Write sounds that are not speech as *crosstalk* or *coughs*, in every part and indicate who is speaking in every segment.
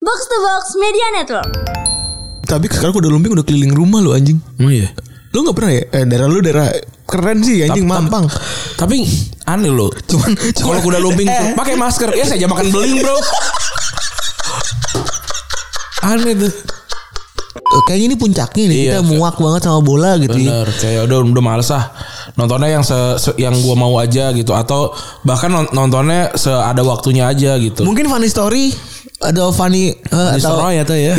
Speaker 1: Box to Box Media Network.
Speaker 2: Tapi sekarang kuda lumping udah keliling rumah lu anjing.
Speaker 3: Emang iya.
Speaker 2: Lu nggak pernah ya? Eh, daerah lu daerah keren sih anjing
Speaker 3: Tapi-
Speaker 2: Mampang.
Speaker 3: Tapi aneh loh.
Speaker 2: Cuman
Speaker 3: Kalau kuda
Speaker 2: *laughs*
Speaker 3: lumping
Speaker 2: Eh.
Speaker 3: pakai masker, ya saya makan beling, Bro. aneh tuh.
Speaker 4: Eh, Kayaknya ini puncaknya nih
Speaker 3: Iya,
Speaker 4: kita
Speaker 3: kayak-
Speaker 4: muak banget sama bola gitu. ya.
Speaker 3: Bener, kayak udah udah males ah. Nontonnya yang se, se- yang gua mau aja gitu atau bahkan non- nontonnya seada waktunya aja gitu.
Speaker 4: Mungkin funny story ada funny, eh, atau
Speaker 3: Destroy atau
Speaker 2: *laughs*
Speaker 3: ya.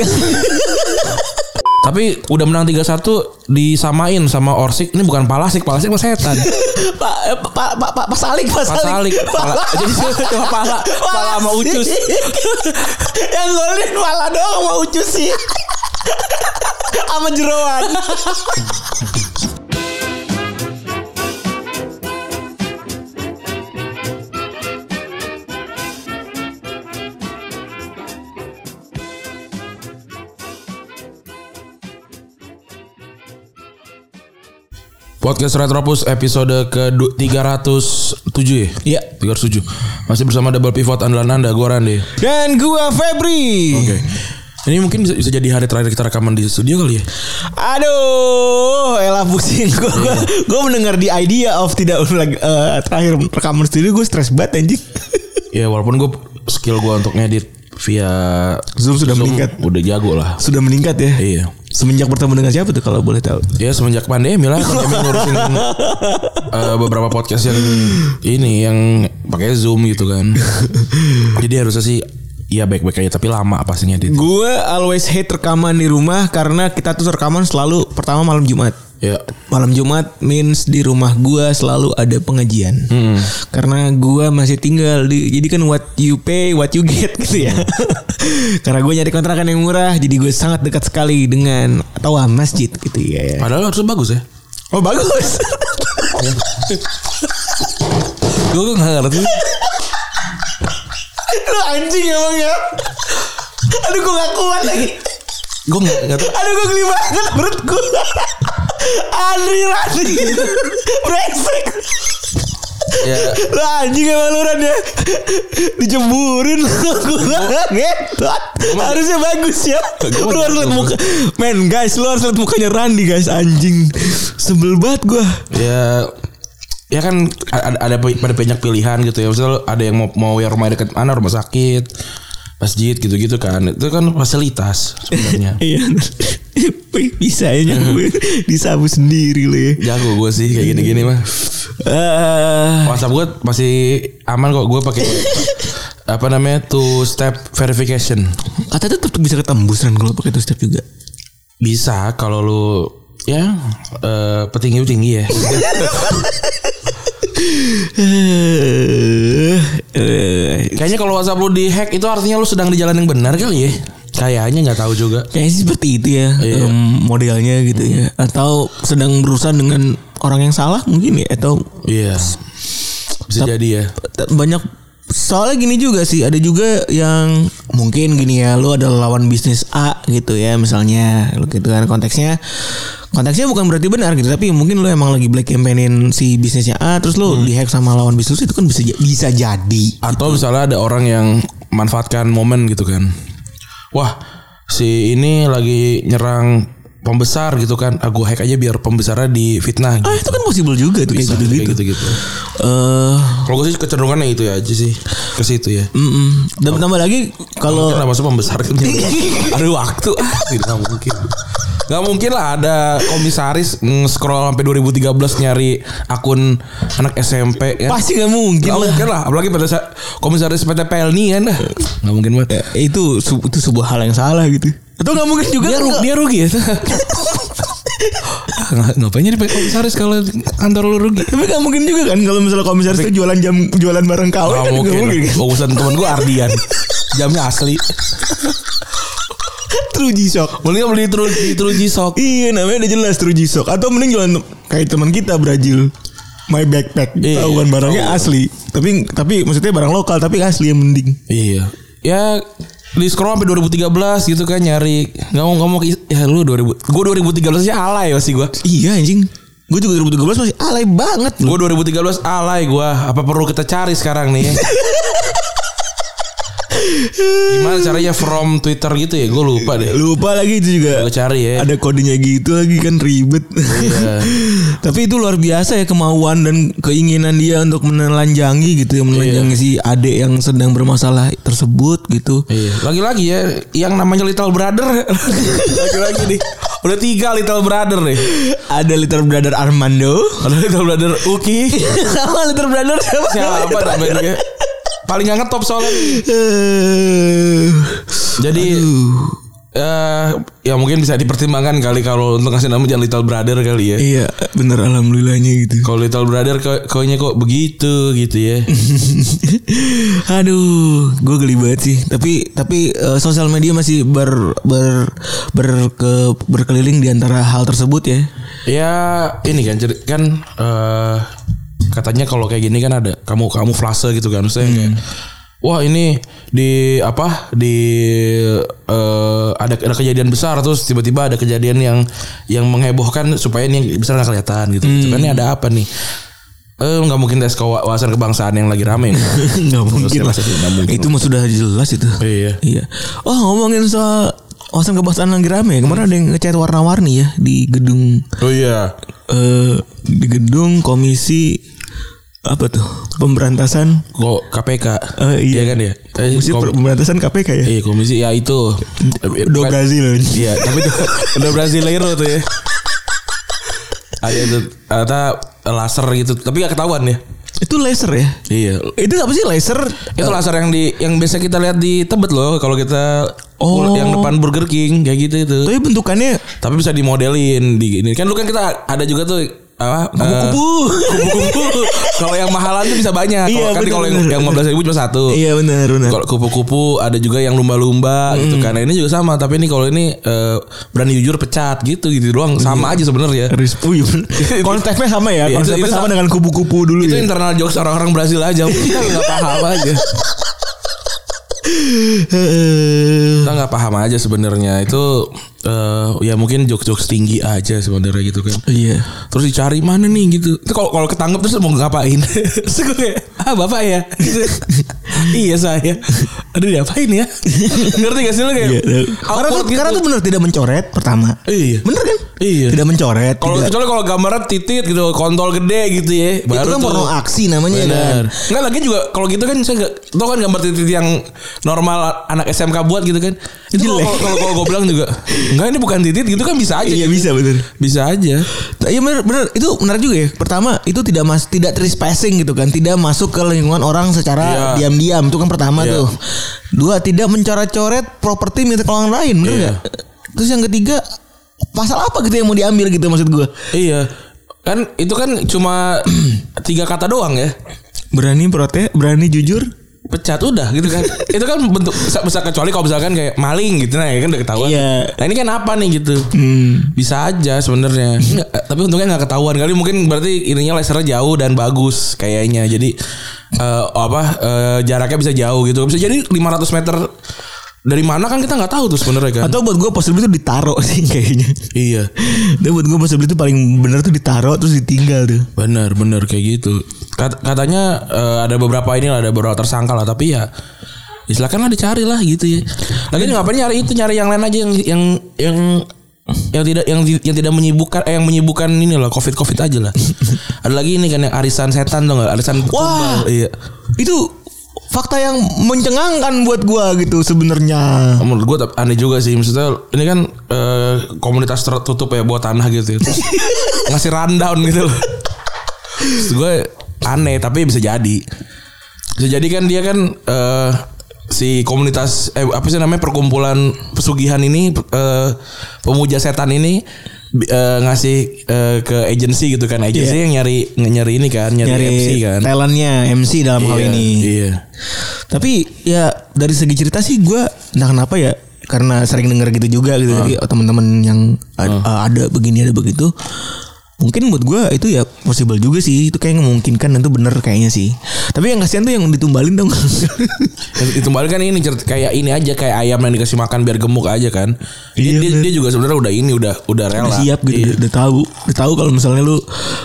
Speaker 3: Tapi udah menang 3-1 disamain sama Orsik. Ini bukan Palasik, Palasik
Speaker 2: *laughs*
Speaker 3: mah setan.
Speaker 4: *laughs* Pak eh, Pak Pak Pak Pak Salik Pak
Speaker 3: Pak Salik. Pala- *laughs*
Speaker 2: *laughs*
Speaker 3: Jadi cuma pala, pala sama ucus.
Speaker 4: *laughs* Yang golin malah doang sama Ucus sih. *laughs* sama jeroan.
Speaker 3: Podcast Retropus episode ke du- 307 ya?
Speaker 4: Iya.
Speaker 3: 307. Masih bersama Double Pivot andalan Anda, gua Randy.
Speaker 4: Dan gua Febri.
Speaker 3: Oke. Ini mungkin bisa, bisa jadi hari terakhir kita rekaman di studio kali ya.
Speaker 4: Aduh, elah pusing gua. Gua, gua mendengar di idea of tidak ulang eh, terakhir rekaman studio gua stres banget anjing. *laughs*
Speaker 3: Ya walaupun gue skill gue untuk ngedit via
Speaker 4: Zoom sudah meningkat.
Speaker 3: Udah jago lah.
Speaker 4: Sudah meningkat ya.
Speaker 3: Iya.
Speaker 4: Semenjak bertemu dengan siapa tuh kalau boleh tahu?
Speaker 3: Ya semenjak pandemi lah pandemi
Speaker 4: *laughs*
Speaker 3: ngurusin eh, beberapa podcast yang ini yang pakai Zoom gitu
Speaker 4: *laughs*
Speaker 3: kan. Jadi harusnya sih ya baik-baik aja tapi lama pastinya di
Speaker 4: Gue always hate rekaman di rumah karena kita tuh rekaman selalu pertama malam Jumat.
Speaker 3: Ya.
Speaker 4: Malam Jumat means di rumah gue selalu ada pengajian.
Speaker 3: Hmm.
Speaker 4: Karena gue masih tinggal di jadi kan what you pay what you get gitu ya. *laughs* karena gue nyari kontrakan yang murah jadi gue sangat dekat sekali dengan tawa masjid gitu ya.
Speaker 3: Padahal harusnya bagus ya.
Speaker 4: Oh bagus. *laughs*
Speaker 3: Gue gak ngerti.
Speaker 4: Lu anjing emang ya. Aduh gue gak kuat lagi.
Speaker 3: Gue gak ngerti.
Speaker 4: Aduh gue geli banget perut *laughs* gue. Andri Rani. Brengsek.
Speaker 3: Ya,
Speaker 4: Lu anjing emang lu Ran ya Dicemburin lu Gua ngetot Harusnya bagus ya
Speaker 3: Gua
Speaker 4: Lu harus liat
Speaker 3: ngetot.
Speaker 4: muka Men guys lu harus liat mukanya Randi guys Anjing Sebel banget gua
Speaker 3: ya ya kan ada ada pada banyak pilihan gitu ya Maksudnya lo ada yang mau mau yang rumah dekat mana rumah sakit masjid gitu-gitu kan itu kan fasilitas
Speaker 4: *laughs*
Speaker 3: sebenarnya
Speaker 4: Iya Bisa ya *laughs* nyambung Disabu sendiri lu ya
Speaker 3: jago gue sih kayak gini-gini mah
Speaker 4: Eh,
Speaker 3: WhatsApp gue masih aman kok gue pakai apa namanya two step verification
Speaker 4: Katanya tetep bisa ketembus Ran Kalau pakai two step juga
Speaker 3: bisa kalau lu ya eh, petinggi petinggi ya
Speaker 4: Eh, eh,
Speaker 3: kayaknya kalau WhatsApp lu dihack itu artinya lu sedang di jalan yang benar kali ya kayaknya nggak tahu juga
Speaker 4: Kayaknya sih seperti itu ya
Speaker 3: Iya.
Speaker 4: em, modelnya gitu ya atau sedang berurusan dengan orang yang salah mungkin ya atau
Speaker 3: iya bisa jadi ya
Speaker 4: t- banyak soalnya gini juga sih ada juga yang mungkin gini ya lu ada lawan bisnis A gitu ya misalnya lu gitu kan konteksnya konteksnya bukan berarti benar gitu tapi mungkin lu emang lagi black campaignin si bisnisnya A terus
Speaker 3: Hmm.
Speaker 4: lu dihack sama lawan bisnis itu kan bisa ja- bisa jadi
Speaker 3: Atau misalnya ada orang yang manfaatkan momen gitu kan. Wah, si ini lagi nyerang pembesar gitu kan. Ah, gua hack aja biar pembesarnya difitnah
Speaker 4: ah
Speaker 3: gitu.
Speaker 4: itu kan possible juga tuh kayak
Speaker 3: Bisa,
Speaker 4: gitu
Speaker 3: kayak
Speaker 4: gitu
Speaker 3: gitu-gitu.
Speaker 4: eh
Speaker 3: Kalau gue sih kecenderungannya itu ya aja sih. Ke situ ya.
Speaker 4: mm-mm. dan tambah lagi kalau
Speaker 3: Kenapa sih pembesar itu kan
Speaker 4: *laughs*
Speaker 3: nyerang? Oh. *laughs* Ada waktu. Ah, Tidak mungkin. Gak mungkin lah ada komisaris nge-scroll sampai 2013 nyari akun anak SMP ya.
Speaker 4: pasti nggak mungkin
Speaker 3: Gak
Speaker 4: lah.
Speaker 3: mungkin lah. Apalagi pada saat komisaris PT PLN kan. dah. Gak mungkin banget.
Speaker 4: Ya, itu su- itu sebuah hal yang salah gitu. Atau nggak mungkin juga
Speaker 3: dia, ru-
Speaker 4: kalau-
Speaker 3: dia rugi *laughs* ya Ah, nga- ngapain jadi pakai komisaris kalau kantor lu rugi
Speaker 4: tapi nggak mungkin juga kan kalau misalnya komisaris itu jualan jam jualan barang kawin
Speaker 3: Gak
Speaker 4: kan nggak
Speaker 3: mungkin
Speaker 4: mungkin. kan?
Speaker 3: Urusan temen gue Ardian Jamnya asli
Speaker 4: True G-Shock.
Speaker 3: Mending beli tru, di Truji Sok
Speaker 4: Iya namanya udah jelas True G-Shock. Atau mending jualan kayak teman kita Brazil. My backpack.
Speaker 3: Iya.
Speaker 4: Tahu kan barangnya asli. Tapi tapi maksudnya barang lokal tapi asli yang mending.
Speaker 3: Iya Ya di scroll sampai 2013 gitu kan nyari nggak mau nggak mau ke- ya lu 2000 gue 2013 aja alay ya, pasti gue
Speaker 4: Iya anjing. Gue juga 2013 masih alay banget loh.
Speaker 3: gue 2013 alay gue apa perlu kita cari sekarang nih Gimana caranya from Twitter gitu ya? Gue lupa deh.
Speaker 4: Lupa lagi itu juga.
Speaker 3: Gue cari ya.
Speaker 4: Ada kodenya gitu lagi kan ribet.
Speaker 3: Iya.
Speaker 4: *laughs* Tapi itu luar biasa ya kemauan dan keinginan dia untuk menelanjangi gitu ya menelanjangi si adik yang sedang bermasalah tersebut gitu.
Speaker 3: Iya. Lagi-lagi ya, yang namanya Little Brother. Lagi-lagi nih. Udah tiga Little Brother nih.
Speaker 4: Ada Little Brother Armando.
Speaker 3: Ada Little Brother Uki. *laughs*
Speaker 4: Sama Little Brother siapa?
Speaker 3: Siapa namanya dia? Paling gak ngetop soalnya.
Speaker 4: *laughs* Eh,
Speaker 3: Jadi eh ya mungkin bisa dipertimbangkan kali kalau untuk kasih nama jangan Little Brother kali ya.
Speaker 4: iya, bener alhamdulillahnya gitu.
Speaker 3: Kalau Little Brother kok koknya kok begitu gitu ya. *laughs*
Speaker 4: *laughs* Aduh, gue geli banget sih. Tapi tapi eh, sosial media masih ber ber berke- berkeliling di antara hal tersebut
Speaker 3: *laughs*
Speaker 4: ya.
Speaker 3: ya ini kan cer- kan eh katanya kalau kayak gini kan ada kamu kamu flase gitu kan saya kayak
Speaker 4: Hmm.
Speaker 3: wah ini di apa di eh, ada ada kejadian besar terus tiba-tiba ada kejadian yang yang menghebohkan supaya ini besar nggak kelihatan gitu, gitu kan ini
Speaker 4: Hmm.
Speaker 3: ada apa nih Eh, nggak mungkin tes kewa- wawasan kebangsaan yang lagi rame
Speaker 4: Nggak mungkin lah.
Speaker 3: Nggak mungkin.
Speaker 4: Itu mah sudah jelas itu.
Speaker 3: Iya.
Speaker 4: *laughs* Iya. Oh ngomongin soal wawasan kebangsaan lagi rame. ya. Kemarin ada yang ngecat warna-warni ya di gedung
Speaker 3: oh iya
Speaker 4: eh di gedung komisi apa tuh pemberantasan
Speaker 3: kok KPK
Speaker 4: Eh, iya.
Speaker 3: kan ya Eh,
Speaker 4: komisi
Speaker 3: kom-
Speaker 4: pemberantasan KPK ya.
Speaker 3: iya komisi ya itu
Speaker 4: Do Brazil.
Speaker 3: Iya, tapi itu udah Brasileiro tuh ya. Ada itu ada laser gitu, tapi gak ketahuan ya.
Speaker 4: Itu laser ya.
Speaker 3: Iya.
Speaker 4: Itu apa sih laser?
Speaker 3: Itu laser yang di yang biasa kita lihat di Tebet loh kalau kita
Speaker 4: Oh.
Speaker 3: yang depan Burger King kayak gitu itu.
Speaker 4: Tapi bentukannya eh,
Speaker 3: Tapi bisa dimodelin di ini. Kan lu kan kita ada juga tuh apa? eh, kupu-kupu. kalau yang mahalan tuh bisa banyak. Kalau
Speaker 4: Iya,
Speaker 3: kan
Speaker 4: bener,
Speaker 3: kalau yang
Speaker 4: bener.
Speaker 3: yang 15 ribu cuma satu.
Speaker 4: Iya Hmm. benar benar.
Speaker 3: Kalau kupu-kupu ada juga yang lumba-lumba gitu kan. Nah, Ini juga sama, tapi ini kalau ini eh, berani jujur pecat gitu gitu
Speaker 4: Iya.
Speaker 3: doang sama aja sebenarnya.
Speaker 4: Rispu ya
Speaker 3: *laughs*
Speaker 4: bener. Konsepnya sama ya.
Speaker 3: Iya, itu-
Speaker 4: Konsepnya
Speaker 3: itu
Speaker 4: sama
Speaker 3: sa-
Speaker 4: dengan kupu-kupu dulu
Speaker 3: Itu
Speaker 4: ya.
Speaker 3: internal jokes orang-orang Brazil
Speaker 4: *laughs*
Speaker 3: aja. Kita nggak paham aja.
Speaker 4: Eh,
Speaker 3: Kita nggak paham aja sebenarnya. Itu eh, ya mungkin jokes-jokes tinggi aja sebenarnya gitu kan.
Speaker 4: Iya.
Speaker 3: Terus dicari mana nih gitu. Itu kalau kalau ketangkep terus mau ngapain? *laughs* terus gue kayak, "Ah, Bapak ya."
Speaker 4: *laughs*
Speaker 3: Gitu. iya saya. Aduh, diapain ya? Ngerti gak sih lu kayak?
Speaker 4: Iya. Karena tuh
Speaker 3: awkward gitu.
Speaker 4: karena tuh benar tidak mencoret pertama.
Speaker 3: Iya.
Speaker 4: Bener kan?
Speaker 3: Iya.
Speaker 4: Tidak mencoret.
Speaker 3: Kalau
Speaker 4: tidak-
Speaker 3: kecuali kalau gambarnya titit gitu, kontol gede gitu ya.
Speaker 4: itu kan
Speaker 3: tuh-
Speaker 4: porno aksi namanya
Speaker 3: Bener.
Speaker 4: kan.
Speaker 3: Enggak lagi juga kalau gitu kan saya enggak tahu kan gambar titik yang normal anak SMK buat gitu kan. Itu kalau-
Speaker 4: Jelek.
Speaker 3: kalau kalau- kalau gue bilang juga enggak ini bukan titik gitu kan bisa aja.
Speaker 4: Iya bisa bener.
Speaker 3: Bisa aja.
Speaker 4: Iya bener, bener itu menarik juga ya. Pertama itu tidak mas tidak trespassing gitu kan, tidak masuk ke lingkungan orang secara
Speaker 3: Iya.
Speaker 4: diam-diam itu kan pertama
Speaker 3: Iya.
Speaker 4: tuh. Dua tidak mencoret-coret properti milik orang lain, bener
Speaker 3: Iya.
Speaker 4: nggak? Terus yang ketiga pasal apa gitu yang mau diambil gitu maksud gua?
Speaker 3: Iya. Kan itu kan cuma *clears throat* tiga kata doang ya.
Speaker 4: Berani protes, berani jujur.
Speaker 3: pecat udah gitu kan itu kan bentuk bisa, bisa kecuali kalau misalkan kayak maling gitu nah ya kan udah ketahuan
Speaker 4: Iya.
Speaker 3: nah ini kan apa nih gitu bisa aja sebenarnya Nggak, eh, tapi untungnya nggak ketahuan kali mungkin berarti ininya lasernya jauh dan bagus kayaknya jadi eh, apa eh, jaraknya bisa jauh gitu bisa jadi 500 meter dari mana kan kita nggak tahu tuh sebenarnya kan
Speaker 4: Atau buat gua possible itu ditaruh sih *laughs* kayaknya.
Speaker 3: iya
Speaker 4: Dan buat gua possible itu paling bener tuh ditaruh terus ditinggal tuh.
Speaker 3: benar benar kayak gitu Kat- katanya eh, ada beberapa ini lah ada beberapa tersangka lah tapi ya ya silakan lah dicari lah gitu ya lagi ngapain nyari itu nyari yang lain aja yang yang yang yang tidak yang ti- yang tidak menyibukkan eh, yang menyibukkan ini loh covid covid aja lah ada lagi ini kan yang arisan setan tuh nggak arisan
Speaker 4: Wah.
Speaker 3: pertumbal. iya
Speaker 4: Itu fakta yang mencengangkan buat gua gitu sebenarnya.
Speaker 3: menurut gue aneh juga sih maksudnya ini kan eh, komunitas tertutup ya buat tanah gitu ya. Terus ngasih rundown gitu loh Maksud gue aneh tapi bisa jadi bisa jadi kan dia kan eh, si komunitas eh, apa sih namanya perkumpulan pesugihan ini eh, pemuja setan ini bi- eh, ngasih eh, ke agensi gitu kan agensi
Speaker 4: Iya.
Speaker 3: yang nyari nyari ini kan nyari,
Speaker 4: nyari
Speaker 3: MC kan
Speaker 4: talentnya MC dalam hal
Speaker 3: Iya,
Speaker 4: ini.
Speaker 3: iya
Speaker 4: Tapi ya dari segi cerita sih gue entah kenapa ya karena sering denger gitu juga gitu dari
Speaker 3: Ah.
Speaker 4: teman-teman yang ad- eh, ada begini ada begitu. Mungkin buat gue itu ya possible juga sih itu kayak memungkinkan dan itu bener kayaknya sih. Tapi yang kasihan tuh yang ditumbalin
Speaker 3: *laughs*
Speaker 4: dong.
Speaker 3: itu balik kan ini cer- kayak ini aja kayak ayam yang dikasih makan biar gemuk aja kan dia,
Speaker 4: Iya,
Speaker 3: dia,
Speaker 4: bener.
Speaker 3: dia juga sebenarnya udah ini udah udah rela
Speaker 4: udah siap gitu,
Speaker 3: Iya.
Speaker 4: udah, udah tahu, udah tahu kalau misalnya lu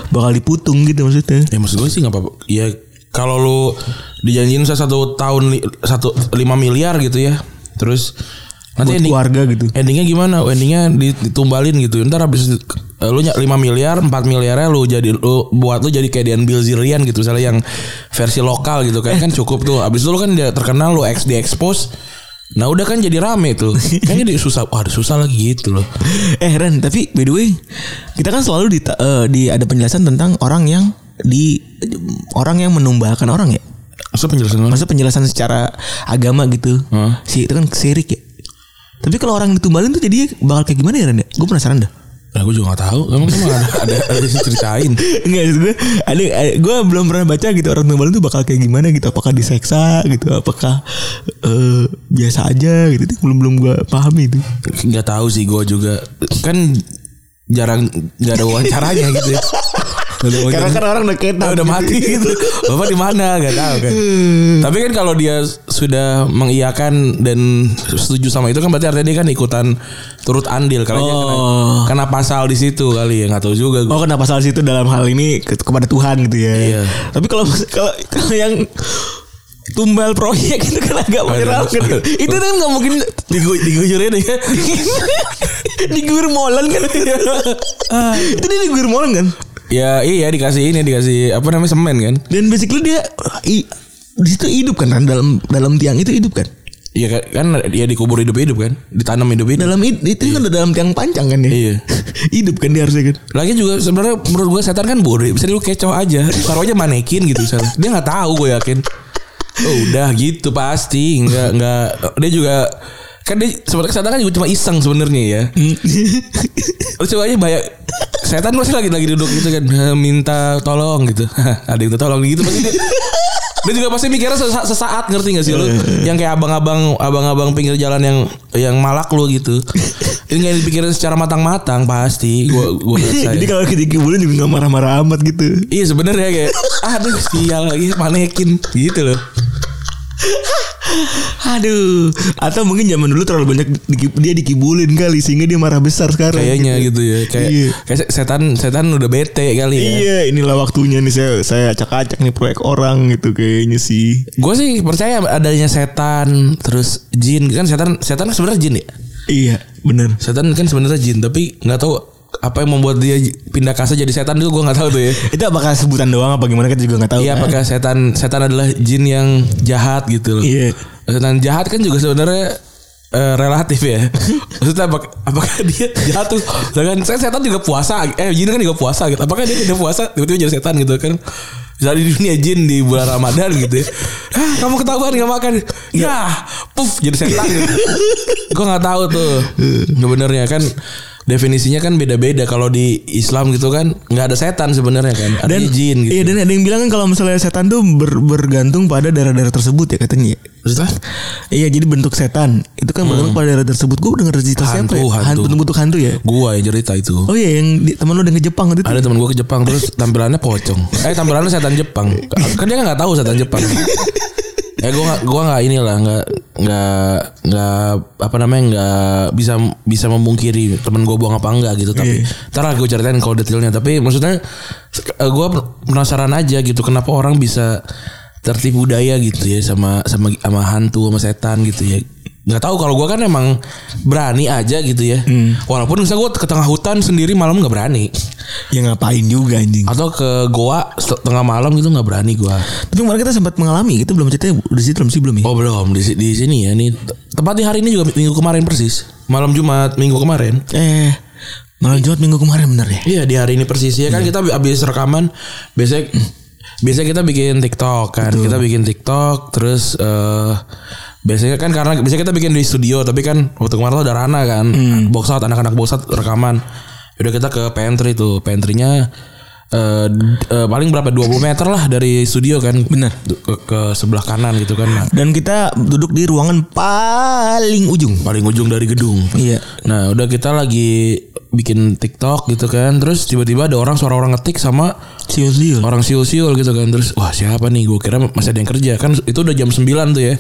Speaker 4: bakal diputung gitu maksudnya.
Speaker 3: ya maksud gue sih nggak apa-apa ya kalau lu dijanjiin saya satu tahun li- satu lima miliar gitu ya terus nanti
Speaker 4: Buat
Speaker 3: ending-
Speaker 4: keluarga gitu.
Speaker 3: endingnya gimana endingnya di- ditumbalin gitu ntar habis eh, lu nyak 5 miliar 4 miliarnya lu jadi lu buat lu jadi kayak Dian Bilzerian gitu misalnya yang versi lokal gitu kan kan cukup tuh habis itu lu kan dia terkenal lu ex di expose nah udah kan jadi rame tuh kayaknya jadi susah wah susah lagi gitu loh
Speaker 4: *laughs* eh Ren tapi by the way kita kan selalu di, di ada penjelasan tentang orang yang di orang yang menumbalkan orang ya
Speaker 3: Masa penjelasan lu?
Speaker 4: masa penjelasan secara agama gitu
Speaker 3: Hah?
Speaker 4: si itu kan sirik ya tapi kalau orang ditumbalin tuh jadi bakal kayak gimana ya Ren gue penasaran dah
Speaker 3: Nah, gue juga gak tahu. Emang emang ada ada, ada yang ceritain.
Speaker 4: *laughs* Enggak maksud gue ada, Gue belum pernah baca gitu Orang tumbalin tuh bakal kayak gimana gitu Apakah diseksa gitu Apakah eh, Biasa aja gitu Itu belum-belum gue pahami itu
Speaker 3: Gak tahu sih gue juga. Kan jarang nggak ada
Speaker 4: *laughs*
Speaker 3: wawancaranya gitu. ya. Nggak ada wawancara.
Speaker 4: kan orang udah kena
Speaker 3: Nah, udah mati gitu. Bapak di mana? Gak tahu kan.
Speaker 4: Hmm.
Speaker 3: Tapi kan kalau dia sudah mengiyakan dan setuju sama itu kan berarti artinya dia kan ikutan turut andil karena dia kena,
Speaker 4: Oh.
Speaker 3: kena pasal di situ kali ya nggak tahu juga gue.
Speaker 4: Oh kenapa salah situ dalam hal ini ke- kepada Tuhan gitu ya.
Speaker 3: Iya.
Speaker 4: Tapi kalau kalau kalau yang tumbal proyek itu kan agak menyeramkan. gitu. itu kan nggak mungkin
Speaker 3: Digu- digujurin ya.
Speaker 4: *laughs* diguyur molen kan. itu dia diguyur molen kan.
Speaker 3: ya iya dikasih ini dikasih apa namanya semen kan.
Speaker 4: Dan basically dia i- di situ hidup kan Ran? dalam dalam tiang itu hidup kan.
Speaker 3: Iya kan- kan ya dikubur hidup-hidup kan, ditanam hidup-hidup.
Speaker 4: Dalam hid- itu kan udah dalam tiang panjang kan ya.
Speaker 3: Iya.
Speaker 4: *laughs* hidup kan dia harusnya kan.
Speaker 3: Lagi juga sebenarnya menurut gue setan kan bodoh, bisa lu kecoh aja, taruh aja manekin gitu misalnya. Dia nggak tahu gue yakin. Oh, udah gitu pasti, nggak nggak dia juga kan dia sebenarnya setan kan juga cuma iseng sebenarnya ya.
Speaker 4: Hmm. *laughs*
Speaker 3: Lu coba aja banyak setan pasti lagi lagi duduk gitu kan "Eh, minta tolong gitu. *laughs* Hah, Ada yang minta tolong gitu pasti dia dia juga pasti mikirnya sesa- sesaat ngerti gak sih lu yang kayak abang-abang abang-abang pinggir jalan yang yang malak lu gitu ini nggak dipikirin secara matang-matang pasti gua
Speaker 4: *laughs*
Speaker 3: gua rasain.
Speaker 4: Jadi kalau ketika bulan juga nggak marah-marah amat gitu.
Speaker 3: iya sebenarnya kayak ah, aduh sial lagi manekin gitu loh
Speaker 4: Aduh, atau mungkin zaman dulu terlalu banyak di- dia dikibulin kali sehingga dia marah besar sekarang.
Speaker 3: kayaknya gitu ya kayak
Speaker 4: Iya.
Speaker 3: kayak setan setan udah bete kali ya
Speaker 4: Iya, inilah waktunya nih saya saya acak-acak nih proyek orang gitu kayaknya sih.
Speaker 3: Gue sih percaya adanya setan, terus jin kan setan setan sebenarnya jin ya.
Speaker 4: Iya, bener.
Speaker 3: Setan kan sebenarnya jin, tapi nggak tahu apa yang membuat dia j- pindah kasta jadi setan itu gue nggak tahu tuh ya.
Speaker 4: Itu apakah sebutan doang apa gimana kita juga nggak tahu.
Speaker 3: Iya
Speaker 4: kan?
Speaker 3: apakah setan setan adalah jin yang jahat gitu loh.
Speaker 4: *laughs* Iya.
Speaker 3: Setan jahat kan juga sebenarnya eh, relatif
Speaker 4: *laughs*
Speaker 3: ya. Maksudnya apak- apakah, dia jahat tuh? Dengan setan juga puasa, eh jin kan juga puasa gitu. Apakah dia tidak puasa tiba-tiba jadi setan gitu kan? Misalnya di dunia jin di bulan Ramadan gitu ya. Hah, kamu ketahuan gak makan. Ya, puff jadi setan gitu. Gue gak tahu tuh. Sebenarnya kan definisinya kan beda-beda kalau di Islam gitu kan nggak ada setan sebenarnya kan ada
Speaker 4: Dan
Speaker 3: jin gitu.
Speaker 4: Iya, dan ada yang bilang kan kalau misalnya setan tuh ber- bergantung pada darah-darah tersebut ya katanya. ya.
Speaker 3: Maksudnya? Hmm.
Speaker 4: Iya, jadi bentuk setan itu kan bergantung pada darah tersebut. Gue dengar cerita siapa?
Speaker 3: Hantu,
Speaker 4: ya?
Speaker 3: hantu.
Speaker 4: hantu, bentuk hantu ya.
Speaker 3: Gua yang cerita itu.
Speaker 4: Oh iya, yang di, teman lu udah ke Jepang waktu itu.
Speaker 3: Ada teman gua ke Jepang terus tampilannya pocong. Eh tampilannya setan Jepang. Kan dia nggak tahu setan Jepang. Eh gua nggak gua nggak inilah nggak nggak nggak apa namanya nggak bisa bisa memungkiri temen gua bohong apa enggak gitu tapi ntar lah gua ceritain kalau detailnya tapi maksudnya eh, gua penasaran aja gitu kenapa orang bisa tertipu daya gitu ya sama sama sama hantu sama setan gitu ya nggak tahu kalau gua kan emang berani aja gitu ya walaupun misalnya gue ke tengah hutan sendiri malam nggak berani
Speaker 4: Ya ngapain juga anjing.
Speaker 3: atau ke goa se- tengah malam gitu nggak berani gua
Speaker 4: Tapi kemarin kita sempat mengalami gitu belum ceritanya di situ belum sih belum ya.
Speaker 3: oh belum di, si- di sini ya nih Te- tepatnya hari ini juga minggu kemarin persis malam jumat minggu kemarin
Speaker 4: Eh malam Jumat minggu kemarin bener ya.
Speaker 3: iya di hari ini persis ya kan kita abis rekaman biasanya biasanya kita bikin tiktok kan kita bikin tiktok terus eh biasanya kan karena biasanya kita bikin di studio tapi kan waktu kemarin tuh ada Rana kan box out anak-anak box out rekaman udah kita ke pantry tuh pantrynya eh d- eh, paling berapa 20 meter lah dari studio kan
Speaker 4: Bener.
Speaker 3: Du- ke, ke sebelah kanan gitu kan Nah,
Speaker 4: Dan kita duduk di ruangan paling ujung.
Speaker 3: paling ujung dari gedung
Speaker 4: Iya.
Speaker 3: Nah udah kita lagi bikin TikTok gitu kan Terus tiba-tiba ada orang suara orang ngetik sama
Speaker 4: Siul siul.
Speaker 3: orang siul-siul gitu kan Terus wah siapa nih gue kira masih ada yang kerja Kan itu udah jam 9 tuh ya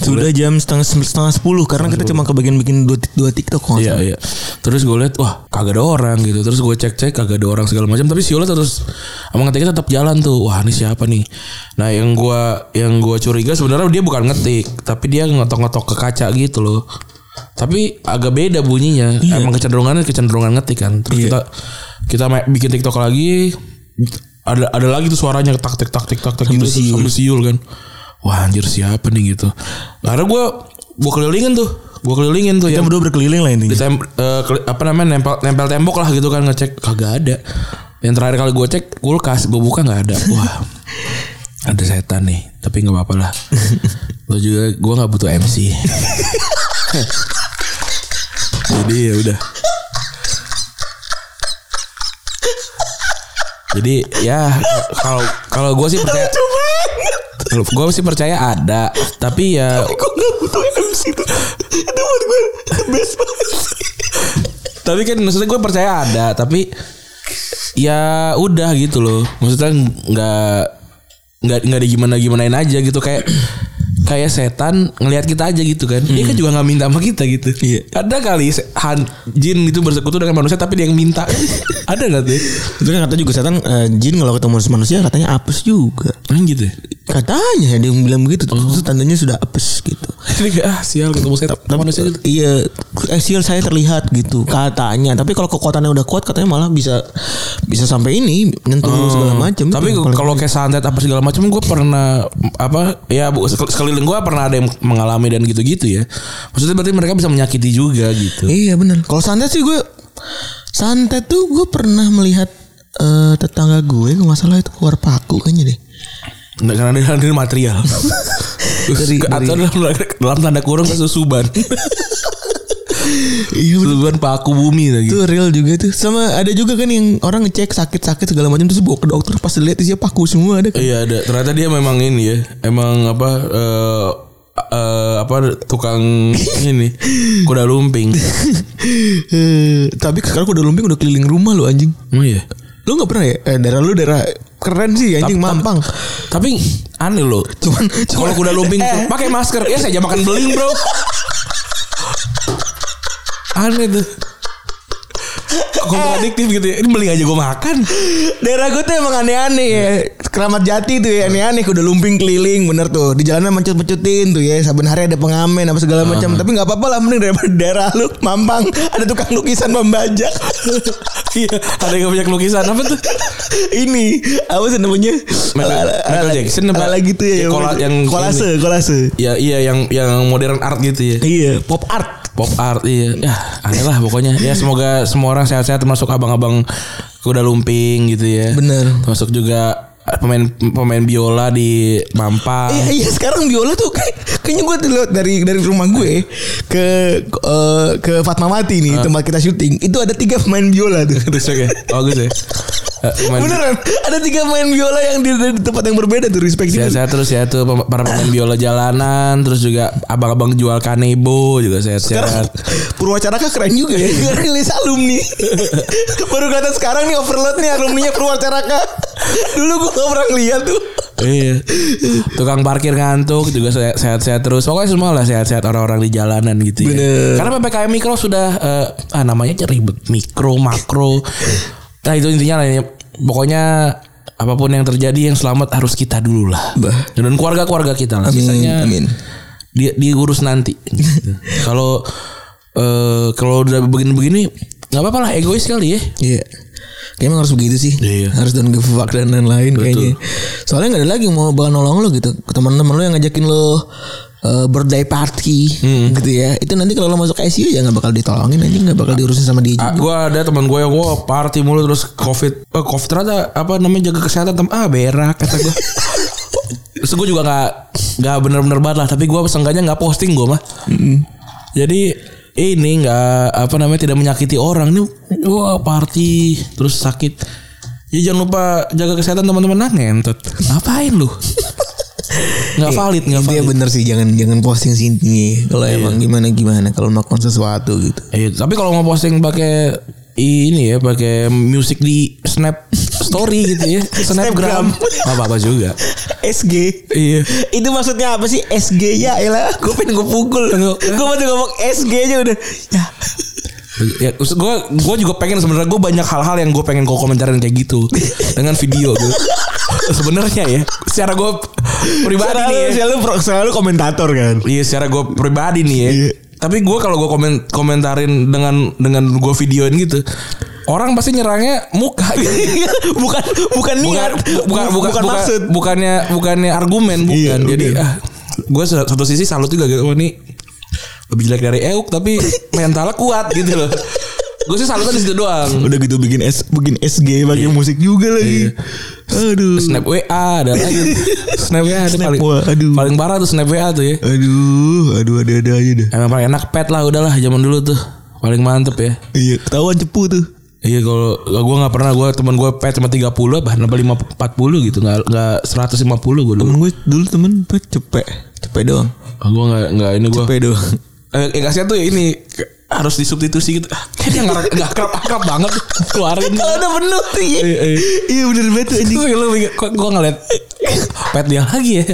Speaker 4: Sudah jam setengah setengah sepuluh karena kita cuma kebagian bikin dua, tik- dua TikTok kok.
Speaker 3: Iya iya. Terus gue lihat wah kagak ada orang gitu. Terus gue cek cek kagak ada orang segala macam. Tapi Siola terus sama ngetiknya tetap jalan tuh. Wah ini siapa nih? Nah yang gue yang gua curiga sebenarnya dia bukan ngetik, tapi dia ngetok-ngetok ke kaca gitu loh. Tapi agak beda bunyinya. Emang kecenderungannya kecenderungan ngetik kan. Terus kita kita ma- bikin TikTok lagi. Ada ada lagi tuh suaranya tak tik tak tik tak tak gitu
Speaker 4: siul.
Speaker 3: sambil siul kan. Wah anjir siapa nih gitu. Karena gue gue kelilingin tuh. Gue kelilingin tuh
Speaker 4: Kita
Speaker 3: yang-
Speaker 4: berdua berkeliling lah intinya.
Speaker 3: ditem eh, keli- apa namanya nempel nempel tembok lah gitu kan ngecek kagak ada yang terakhir kali gue cek kulkas gue buka nggak ada wah ada setan nih tapi nggak apa-apa lah lo juga gue nggak butuh MC jadi ya udah jadi ya kalau kalau gue sih percaya gue sih percaya ada tapi ya
Speaker 4: Kok gak butuh MC itu? Itu buat gue the best banget.
Speaker 3: tapi kan maksudnya gue percaya ada tapi ya udah gitu loh maksudnya nggak nggak nggak ada gimana gimanain aja gitu kayak kayak setan ngelihat kita aja gitu kan dia kan juga nggak minta sama kita gitu
Speaker 4: Iya.
Speaker 3: ada kali se- han, jin itu bersekutu dengan manusia tapi dia yang *laughs* minta ada nggak tuh
Speaker 4: Terus kan kata juga setan eh, jin kalau ketemu sama manusia katanya apes juga.
Speaker 3: Emang gitu ya?
Speaker 4: Katanya ada yang bilang
Speaker 3: Oh.
Speaker 4: begitu. Terus tandanya sudah apes gitu.
Speaker 3: Ini kayak, ah sial ketemu setan manusia gitu
Speaker 4: Iya, eksil saya terlihat gitu katanya. Tapi kalau kekuatannya udah kuat katanya malah bisa bisa sampai ini nyentuh segala macam.
Speaker 3: Tapi kalau kayak santet apa segala macam gue pernah apa ya bu sek- sekeliling gue pernah ada yang mengalami dan gitu-gitu ya. Maksudnya berarti mereka bisa menyakiti juga gitu.
Speaker 4: Iya benar. Kalau santet sih gue santet tuh gue pernah melihat eh, tetangga gue kalau nggak salah itu keluar paku kan kayaknya deh.
Speaker 3: Nggak karena dia dari material. dari,
Speaker 4: *laughs* Dari-
Speaker 3: atau
Speaker 4: dari-
Speaker 3: dalam, dalam tanda kurung
Speaker 4: *laughs*
Speaker 3: kesusuban.
Speaker 4: Iya,
Speaker 3: Susuban paku bumi lagi.
Speaker 4: Itu real juga tuh. Sama ada juga kan yang orang ngecek sakit-sakit segala macam terus bawa ke dokter pas dilihat isinya paku semua ada *laughs* kan.
Speaker 3: Iya ada. Ternyata dia memang ini ya. Emang apa eh eh, apa
Speaker 4: *laughs*
Speaker 3: tukang ini kuda lumping.
Speaker 2: Eh, tapi sekarang kuda lumping udah keliling rumah lo anjing.
Speaker 3: Oh iya.
Speaker 2: Lu nggak pernah ya? Eh, daerah lu daerah keren sih anjing mampang.
Speaker 3: Tapi aneh loh. Cuman kalau kuda lumping tuh pakai masker. Ya saya makan beling, Bro. aneh tuh. Kontradiktif gitu ya. Ini beling aja gue makan.
Speaker 4: Daerah gue tuh emang aneh-aneh ya. Keramat Jati tuh ya aneh-aneh udah lumping keliling bener tuh. Di jalanan mencut-mencutin tuh ya. Saben hari ada pengamen apa segala macam. Tapi nggak apa-apa lah mending daripada daerah lu mampang ada tukang lukisan membajak. *laughs*
Speaker 3: Iya, ada yang banyak lukisan apa tuh?
Speaker 4: Ini apa sih namanya?
Speaker 3: Michael- Michael Jackson apa?
Speaker 4: Ala gitu ya.
Speaker 3: Ya, kola- yang-
Speaker 4: kolase, kolase.
Speaker 3: Ya iya yang yang modern art gitu ya.
Speaker 4: Iya, pop art.
Speaker 3: Pop art iya. Ya, aneh lah pokoknya. Ya semoga semua orang sehat-sehat termasuk abang-abang kuda lumping gitu ya.
Speaker 4: Bener.
Speaker 3: Termasuk juga pemain pemain biola di Mampang.
Speaker 4: Iya, iya sekarang biola tuh kayak, kayaknya gue tuh lewat dari dari rumah gue ke eh, ke Fatmawati nih tempat kita syuting. Itu ada Ah. tiga pemain biola tuh.
Speaker 3: Respect ya. Oh gitu ya. Eh, pemain-
Speaker 4: Beneran ada tiga pemain biola yang di, di tempat yang berbeda tuh respect juga.
Speaker 3: Sehat-sehat terus ya tuh pem- para pemain biola jalanan, terus juga abang-abang jual kanebo juga
Speaker 4: Sekarang
Speaker 3: sehat-sehat.
Speaker 4: Purwacaraka keren juga *laughs* ya. Karena rilis alumni. *laughs* Baru kelihatan sekarang nih overload nih alumninya Purwacaraka. *laughs* Dulu gue gak pernah lihat tuh.
Speaker 3: Iya. Tukang parkir ngantuk juga se- sehat-sehat terus. Pokoknya semua lah sehat-sehat orang-orang di jalanan gitu ya.
Speaker 4: Bener.
Speaker 3: Karena PPKM mikro sudah eh, ah namanya aja ribet mikro, makro. Nah, itu intinya lah ya. Pokoknya apapun yang terjadi yang selamat harus kita dulu lah.
Speaker 4: Bah.
Speaker 3: Dan keluarga-keluarga kita lah. Sisanya- dia diurus nanti. Gitu. Kalau eh kalau udah begini-begini nggak apa-apa lah egois kali ya.
Speaker 4: Iya. Kayaknya emang harus begitu sih.
Speaker 3: Iya.
Speaker 4: Harus don't give a fuck dan lain-lain kayaknya. Soalnya gak ada lagi yang mau bakal nolong lo gitu. Ke teman-teman lo yang ngajakin lo eh, birthday party gitu ya. Itu nanti kalau lo masuk ICU ya gak bakal ditolongin aja. Gak bakal diurusin sama dia juga.
Speaker 3: Ah, gua ada teman gue yang gua party mulu terus covid eh, covid ternyata apa namanya jaga kesehatan tem ah berak kata
Speaker 4: *laughs*
Speaker 3: gue terus gue juga nggak nggak bener-bener banget lah tapi gua seenggaknya nggak posting gua mah jadi ini nggak apa namanya tidak menyakiti orang ini wah party terus sakit ya jangan lupa jaga kesehatan teman-teman nah ngentot ngapain
Speaker 4: *laughs*
Speaker 3: lu nggak valid nggak
Speaker 4: Iya, Intinya
Speaker 3: valid
Speaker 4: bener sih jangan jangan posting sih intinya. Kalau emang gimana gimana kalau melakukan sesuatu *laughs* gitu.
Speaker 3: Iya, tapi kalau mau posting pakai ini ya, pakai musik di snap story gitu
Speaker 4: *laughs*
Speaker 3: ya. Snapgram. Gak apa-apa juga.
Speaker 4: SG
Speaker 3: Iya.
Speaker 4: itu maksudnya apa sih SG ya elah gue pengen gue pukul gue mau ngomong SG aja udah ya
Speaker 3: Ya, maksud gue gue juga pengen sebenarnya gue banyak hal-hal yang gue pengen gue komentarin kayak
Speaker 4: *laughs*
Speaker 3: gitu dengan video gitu. sebenarnya ya, secara gue
Speaker 4: selalu,
Speaker 3: pribadi nih ya.
Speaker 4: selalu, selalu komentator kan
Speaker 3: Iya, secara gue pribadi nih ya.
Speaker 4: Iya.
Speaker 3: Tapi gue kalau gue komen komentarin dengan dengan gue videoin gitu, orang pasti nyerangnya muka gitu.
Speaker 4: *laughs* bukan bukan
Speaker 3: bukan
Speaker 4: niat
Speaker 3: bukan bukan, bukan
Speaker 4: maksud
Speaker 3: bukannya bukannya argumen bukan
Speaker 4: Iya,
Speaker 3: jadi
Speaker 4: bukan.
Speaker 3: ah gue satu sisi salut juga gitu oh ini lebih jelek dari Euk tapi
Speaker 4: *laughs*
Speaker 3: mentalnya kuat gitu loh gue sih salutnya di situ doang
Speaker 4: udah gitu bikin S bikin SG pakai musik juga lagi aduh
Speaker 3: snap WA ada lagi snap WA ada
Speaker 4: Snap
Speaker 3: paling
Speaker 4: WA, aduh.
Speaker 3: paling parah tuh snap WA tuh ya
Speaker 4: aduh aduh ada ada aja dah
Speaker 3: emang paling enak pet lah udahlah zaman dulu tuh paling mantep ya
Speaker 4: iya ketahuan cepu tuh
Speaker 3: Iya kalau gue nggak pernah gue teman gue pet cuma 30 apa nambah 5 40 gitu nggak nggak 150 gue dulu.
Speaker 4: temen gue dulu temen pet cepet cepet doang
Speaker 3: Gue nggak nggak ini gue.
Speaker 4: cepet doang
Speaker 3: Eh, yang kasihan tuh ya ini ke- harus disubstitusi gitu. Ah, Kayaknya nggak nggak kerap akrab banget keluarin.
Speaker 4: ada bener iya
Speaker 3: Iya, iya.
Speaker 4: iya bener banget tuh, anjing
Speaker 3: Itu lu mikir, kok gue ngeliat pet dia lagi ya.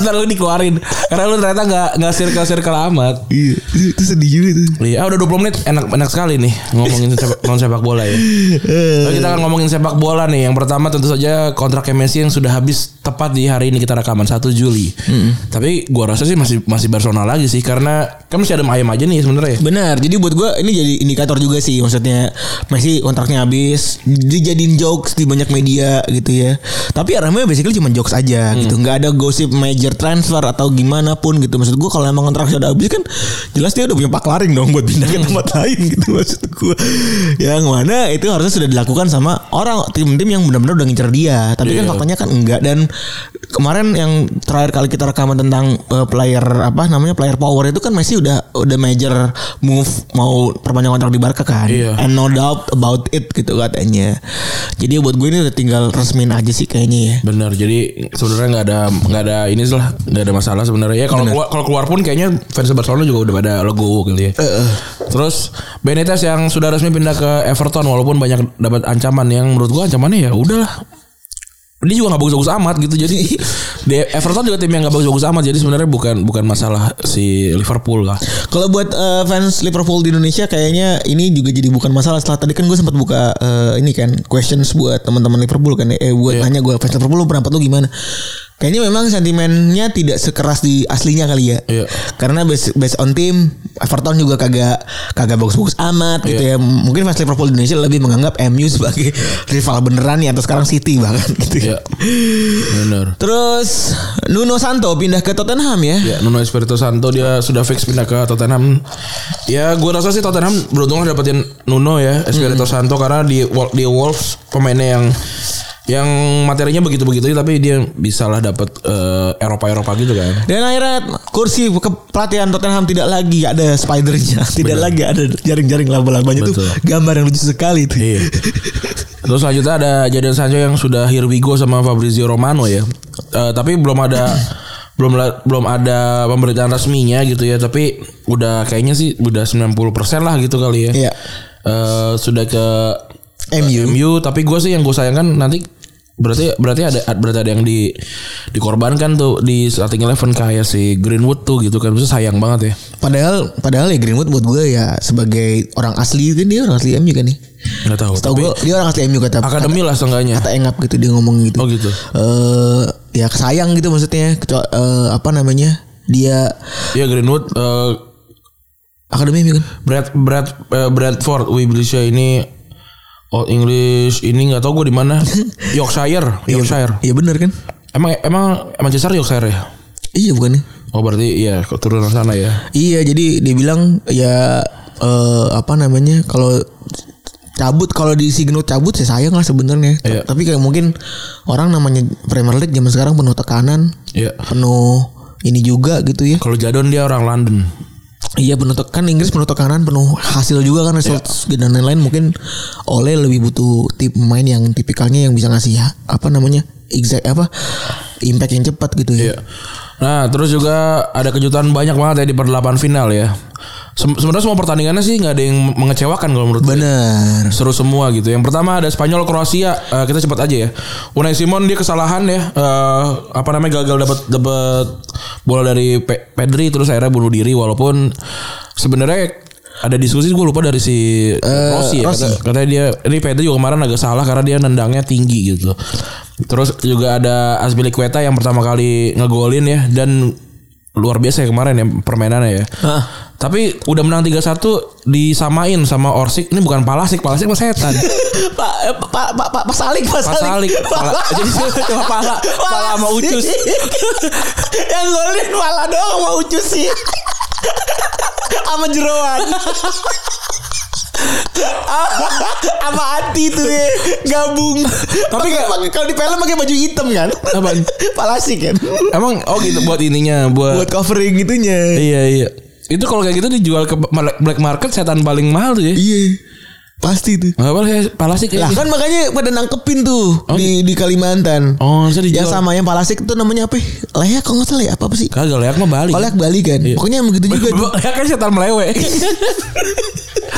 Speaker 3: Ntar lu dikeluarin karena lu ternyata nggak nggak circle circle amat.
Speaker 4: iya itu, itu sedih juga tuh
Speaker 3: Iya, ah, udah 20 menit enak enak sekali nih ngomongin sepak, non sepak bola ya. Lalu kita akan ngomongin sepak bola nih. Yang pertama tentu saja kontrak Messi yang sudah habis tepat di hari ini kita rekaman 1 Juli. Tapi gua rasa sih masih masih Barcelona lagi sih karena kan masih ada ayam aja nih sebenarnya.
Speaker 4: Benar. Jadi buat gue ini jadi indikator juga sih maksudnya Messi kontraknya habis, dijadiin jokes di banyak media gitu ya. Tapi arahnya basically cuma jokes aja gitu. nggak ada gosip major transfer atau gimana pun gitu. Maksud gue kalau emang kontraknya udah habis kan jelas dia udah punya pak laring dong buat pindah ke tempat lain gitu maksud gue. Yang mana itu harusnya sudah dilakukan sama orang tim-tim yang benar-benar udah ngincer dia. Tapi kan
Speaker 3: Iya.
Speaker 4: faktanya kan enggak dan kemarin yang terakhir kali kita rekaman tentang eh, player apa namanya player power itu kan Messi udah udah major move mau perpanjang kontrak di Barca kan
Speaker 3: Iya.
Speaker 4: and no doubt about it gitu katanya jadi buat gue ini udah tinggal resmin aja sih kayaknya ya
Speaker 3: Bener, jadi sebenarnya nggak ada nggak ada ini lah, nggak ada masalah sebenarnya. Ya kalau keluar, kalau keluar pun kayaknya fans Barcelona juga udah pada logo gitu ya. Terus Benitez yang sudah resmi pindah ke Everton walaupun banyak dapat ancaman yang menurut gua ancamannya ya udahlah. Dia juga nggak bagus-bagus amat gitu. Jadi di Everton juga tim yang nggak bagus-bagus amat. Jadi sebenarnya bukan bukan masalah si Liverpool lah.
Speaker 4: kalau buat eh, fans Liverpool di Indonesia kayaknya ini juga jadi bukan masalah setelah tadi kan gue sempat buka eh, ini kan questions buat teman-teman Liverpool kan ya. eh buat nanya gue fans Liverpool lu pendapat lu gimana kayaknya memang sentimennya tidak sekeras di aslinya kali ya
Speaker 3: Iya.
Speaker 4: karena based, based on tim Everton juga kagak kagak bagus-bagus amat gitu ya mungkin fans Liverpool Indonesia lebih menganggap MU sebagai *laughs* rival beneran ya atau sekarang City bahkan gitu ya.
Speaker 3: Ya, bener.
Speaker 4: Terus Nuno Santo pindah ke Tottenham ya.
Speaker 3: Ya, Nuno Espirito Santo dia sudah fix pindah ke Tottenham. Ya, gue rasa sih Tottenham beruntung lah dapetin Nuno ya, Espirito Santo karena di Wol- di Wolves pemainnya yang yang materinya begitu-begitu aja, tapi dia bisalah dapat Eropa-Eropa gitu kan.
Speaker 4: Dan akhirnya kursi kepelatihan Tottenham tidak lagi ada spidernya, *laughs* tidak lagi ada jaring-jaring laba-labanya itu
Speaker 3: Betul.
Speaker 4: gambar yang lucu sekali itu.
Speaker 3: Iya. Terus selanjutnya ada Jadon Sancho yang sudah here we go sama Fabrizio Romano ya. Eh, tapi belum ada belum la- belum ada pemberitaan resminya gitu ya, tapi udah kayaknya sih udah 90% lah gitu kali ya.
Speaker 4: Iya.
Speaker 3: Eh, sudah ke
Speaker 4: MU.
Speaker 3: MU tapi gue sih yang gue sayangkan nanti berarti berarti ada berarti ada yang di dikorbankan tuh di starting eleven kayak si Greenwood tuh gitu kan bisa sayang banget ya
Speaker 4: Padahal padahal ya Greenwood buat gue ya sebagai orang asli kan dia orang asli MU kan nih.
Speaker 3: nggak tahu
Speaker 4: Tahu
Speaker 3: tapi
Speaker 4: gue dia orang asli MU kata
Speaker 3: akademi lah seenggaknya
Speaker 4: kata engap gitu dia ngomong gitu.
Speaker 3: Oh, gitu.
Speaker 4: Eh ya sayang gitu maksudnya kecuali eh, apa namanya? Dia
Speaker 3: ya Greenwood eh,
Speaker 4: akademi MU kan.
Speaker 3: Brad Brad eh, Bradford Wiblisha ini Old English ini nggak tahu gue di *laughs* mana Yorkshire Yorkshire
Speaker 4: Iya benar kan?
Speaker 3: emang emang Manchester Yorkshire ya
Speaker 4: Iya bukan ya?
Speaker 3: oh berarti ya keturunan sana ya
Speaker 4: Iya, jadi dia bilang ya eh, apa namanya kalau cabut kalau diisi Genut cabut sih sayang lah sebenarnya.
Speaker 3: Iya.
Speaker 4: Tapi kayak mungkin orang namanya Premier League zaman sekarang penuh tekanan,
Speaker 3: ya
Speaker 4: penuh ini juga gitu ya.
Speaker 3: kalau Jadon dia orang London
Speaker 4: Iya penuh tekan Inggris penuh tekanan penuh hasil juga kan results dan lain-lain mungkin oleh lebih butuh tip pemain yang tipikalnya yang bisa ngasih ya, apa namanya exact apa impact yang cepat gitu ya.
Speaker 3: Iya. Nah, terus juga ada kejutan banyak banget ya di perdelapan final ya. Sem- Sebenarnya semua pertandingannya sih nggak ada yang mengecewakan kalau menurut gue.
Speaker 4: Bener.
Speaker 3: seru semua gitu. Yang pertama ada Spanyol Kroasia. Eh, kita cepat aja ya. Unai Simon dia kesalahan ya. Eh, apa namanya gagal dapat dapat bola dari Pe- Pedri terus akhirnya bunuh diri walaupun sebenarnya ada diskusi gue lupa dari si Rossi ya
Speaker 4: Rossi.
Speaker 3: kata- katanya dia ini Pedri juga kemarin agak salah karena dia nendangnya tinggi gitu. Terus juga ada Azpilicueta yang pertama kali ngegolin ya dan luar biasa ya kemarin ya permainannya ya.
Speaker 4: Hah.
Speaker 3: Tapi udah menang 3-1 disamain sama Orsik. Ini bukan Palasik, Palasik mah
Speaker 4: *laughs*
Speaker 3: setan.
Speaker 4: *laughs* Pak eh, Pak Pak Pak Pak Salik Pak
Speaker 3: Pak Salik. Pala.
Speaker 4: *laughs*
Speaker 3: Jadi *laughs* cuma pala, pala sama ucus.
Speaker 4: Yang golin pala doang sama ucus sih. Sama jeroan. Sama hati tuh ya gabung. Tapi kayak kalau di film pakai baju hitam kan?
Speaker 3: Apaan?
Speaker 4: Palasi kan.
Speaker 3: Emang oh gitu buat ininya, buat,
Speaker 4: Buat covering itunya.
Speaker 3: iya iya. Itu kalau kayak gitu dijual ke ma- black market setan paling mahal tuh ya.
Speaker 4: Iya. Pasti tuh.
Speaker 3: Enggak apa-apa Palasik ya.
Speaker 4: Lah kan makanya pada nangkepin tuh di di Kalimantan.
Speaker 3: Oh, bisa dijual.
Speaker 4: yang Ya sama yang palasik itu namanya apa? ya? Leyak kalau nggak salah ya apa, apa sih?
Speaker 3: Kagak layak mah Bali.
Speaker 4: Leyak Bali kan. Pokoknya emang gitu juga tuh.
Speaker 3: Leyak *laughs* kan setan melewe.
Speaker 4: *laughs*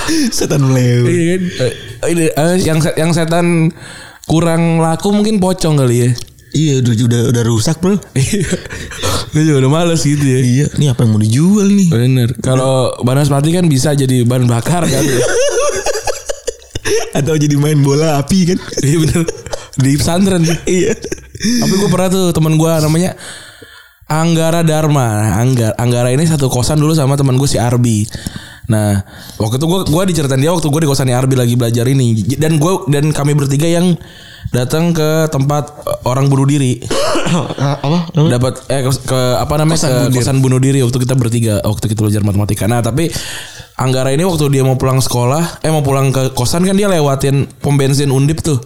Speaker 4: Setan melew.
Speaker 3: Iya kan? Eh, ini, eh, yang se- yang setan kurang laku mungkin pocong kali ya.
Speaker 4: Iya udah udah udah rusak bro.
Speaker 3: *laughs* Iya. Gue juga udah males gitu ya.
Speaker 4: Iya. Ini apa yang mau dijual
Speaker 3: *laughs*
Speaker 4: nih?
Speaker 3: Bener. Kalau Banaspati kan bisa jadi bahan bakar kan. ya.
Speaker 4: Atau jadi main bola api kan?
Speaker 3: Iya
Speaker 4: *laughs*
Speaker 3: bener. Di pesantren.
Speaker 4: iya.
Speaker 3: Tapi gue pernah tuh teman gue namanya Anggara Dharma. Anggar Anggara ini satu kosan dulu sama teman gue si Arbi. Nah, waktu itu gue gua diceritain dia waktu gue di kosannya Arbi lagi belajar ini dan gue dan kami bertiga yang datang ke tempat eh, orang bunuh diri.
Speaker 4: apa?
Speaker 3: dapat eh ke, ke- apa namanya kosan, bunuh, kosan bunuh diri waktu kita bertiga waktu kita belajar matematika. Nah, tapi Anggara ini waktu dia mau pulang sekolah, eh mau pulang ke kosan kan dia lewatin pom bensin Undip tuh.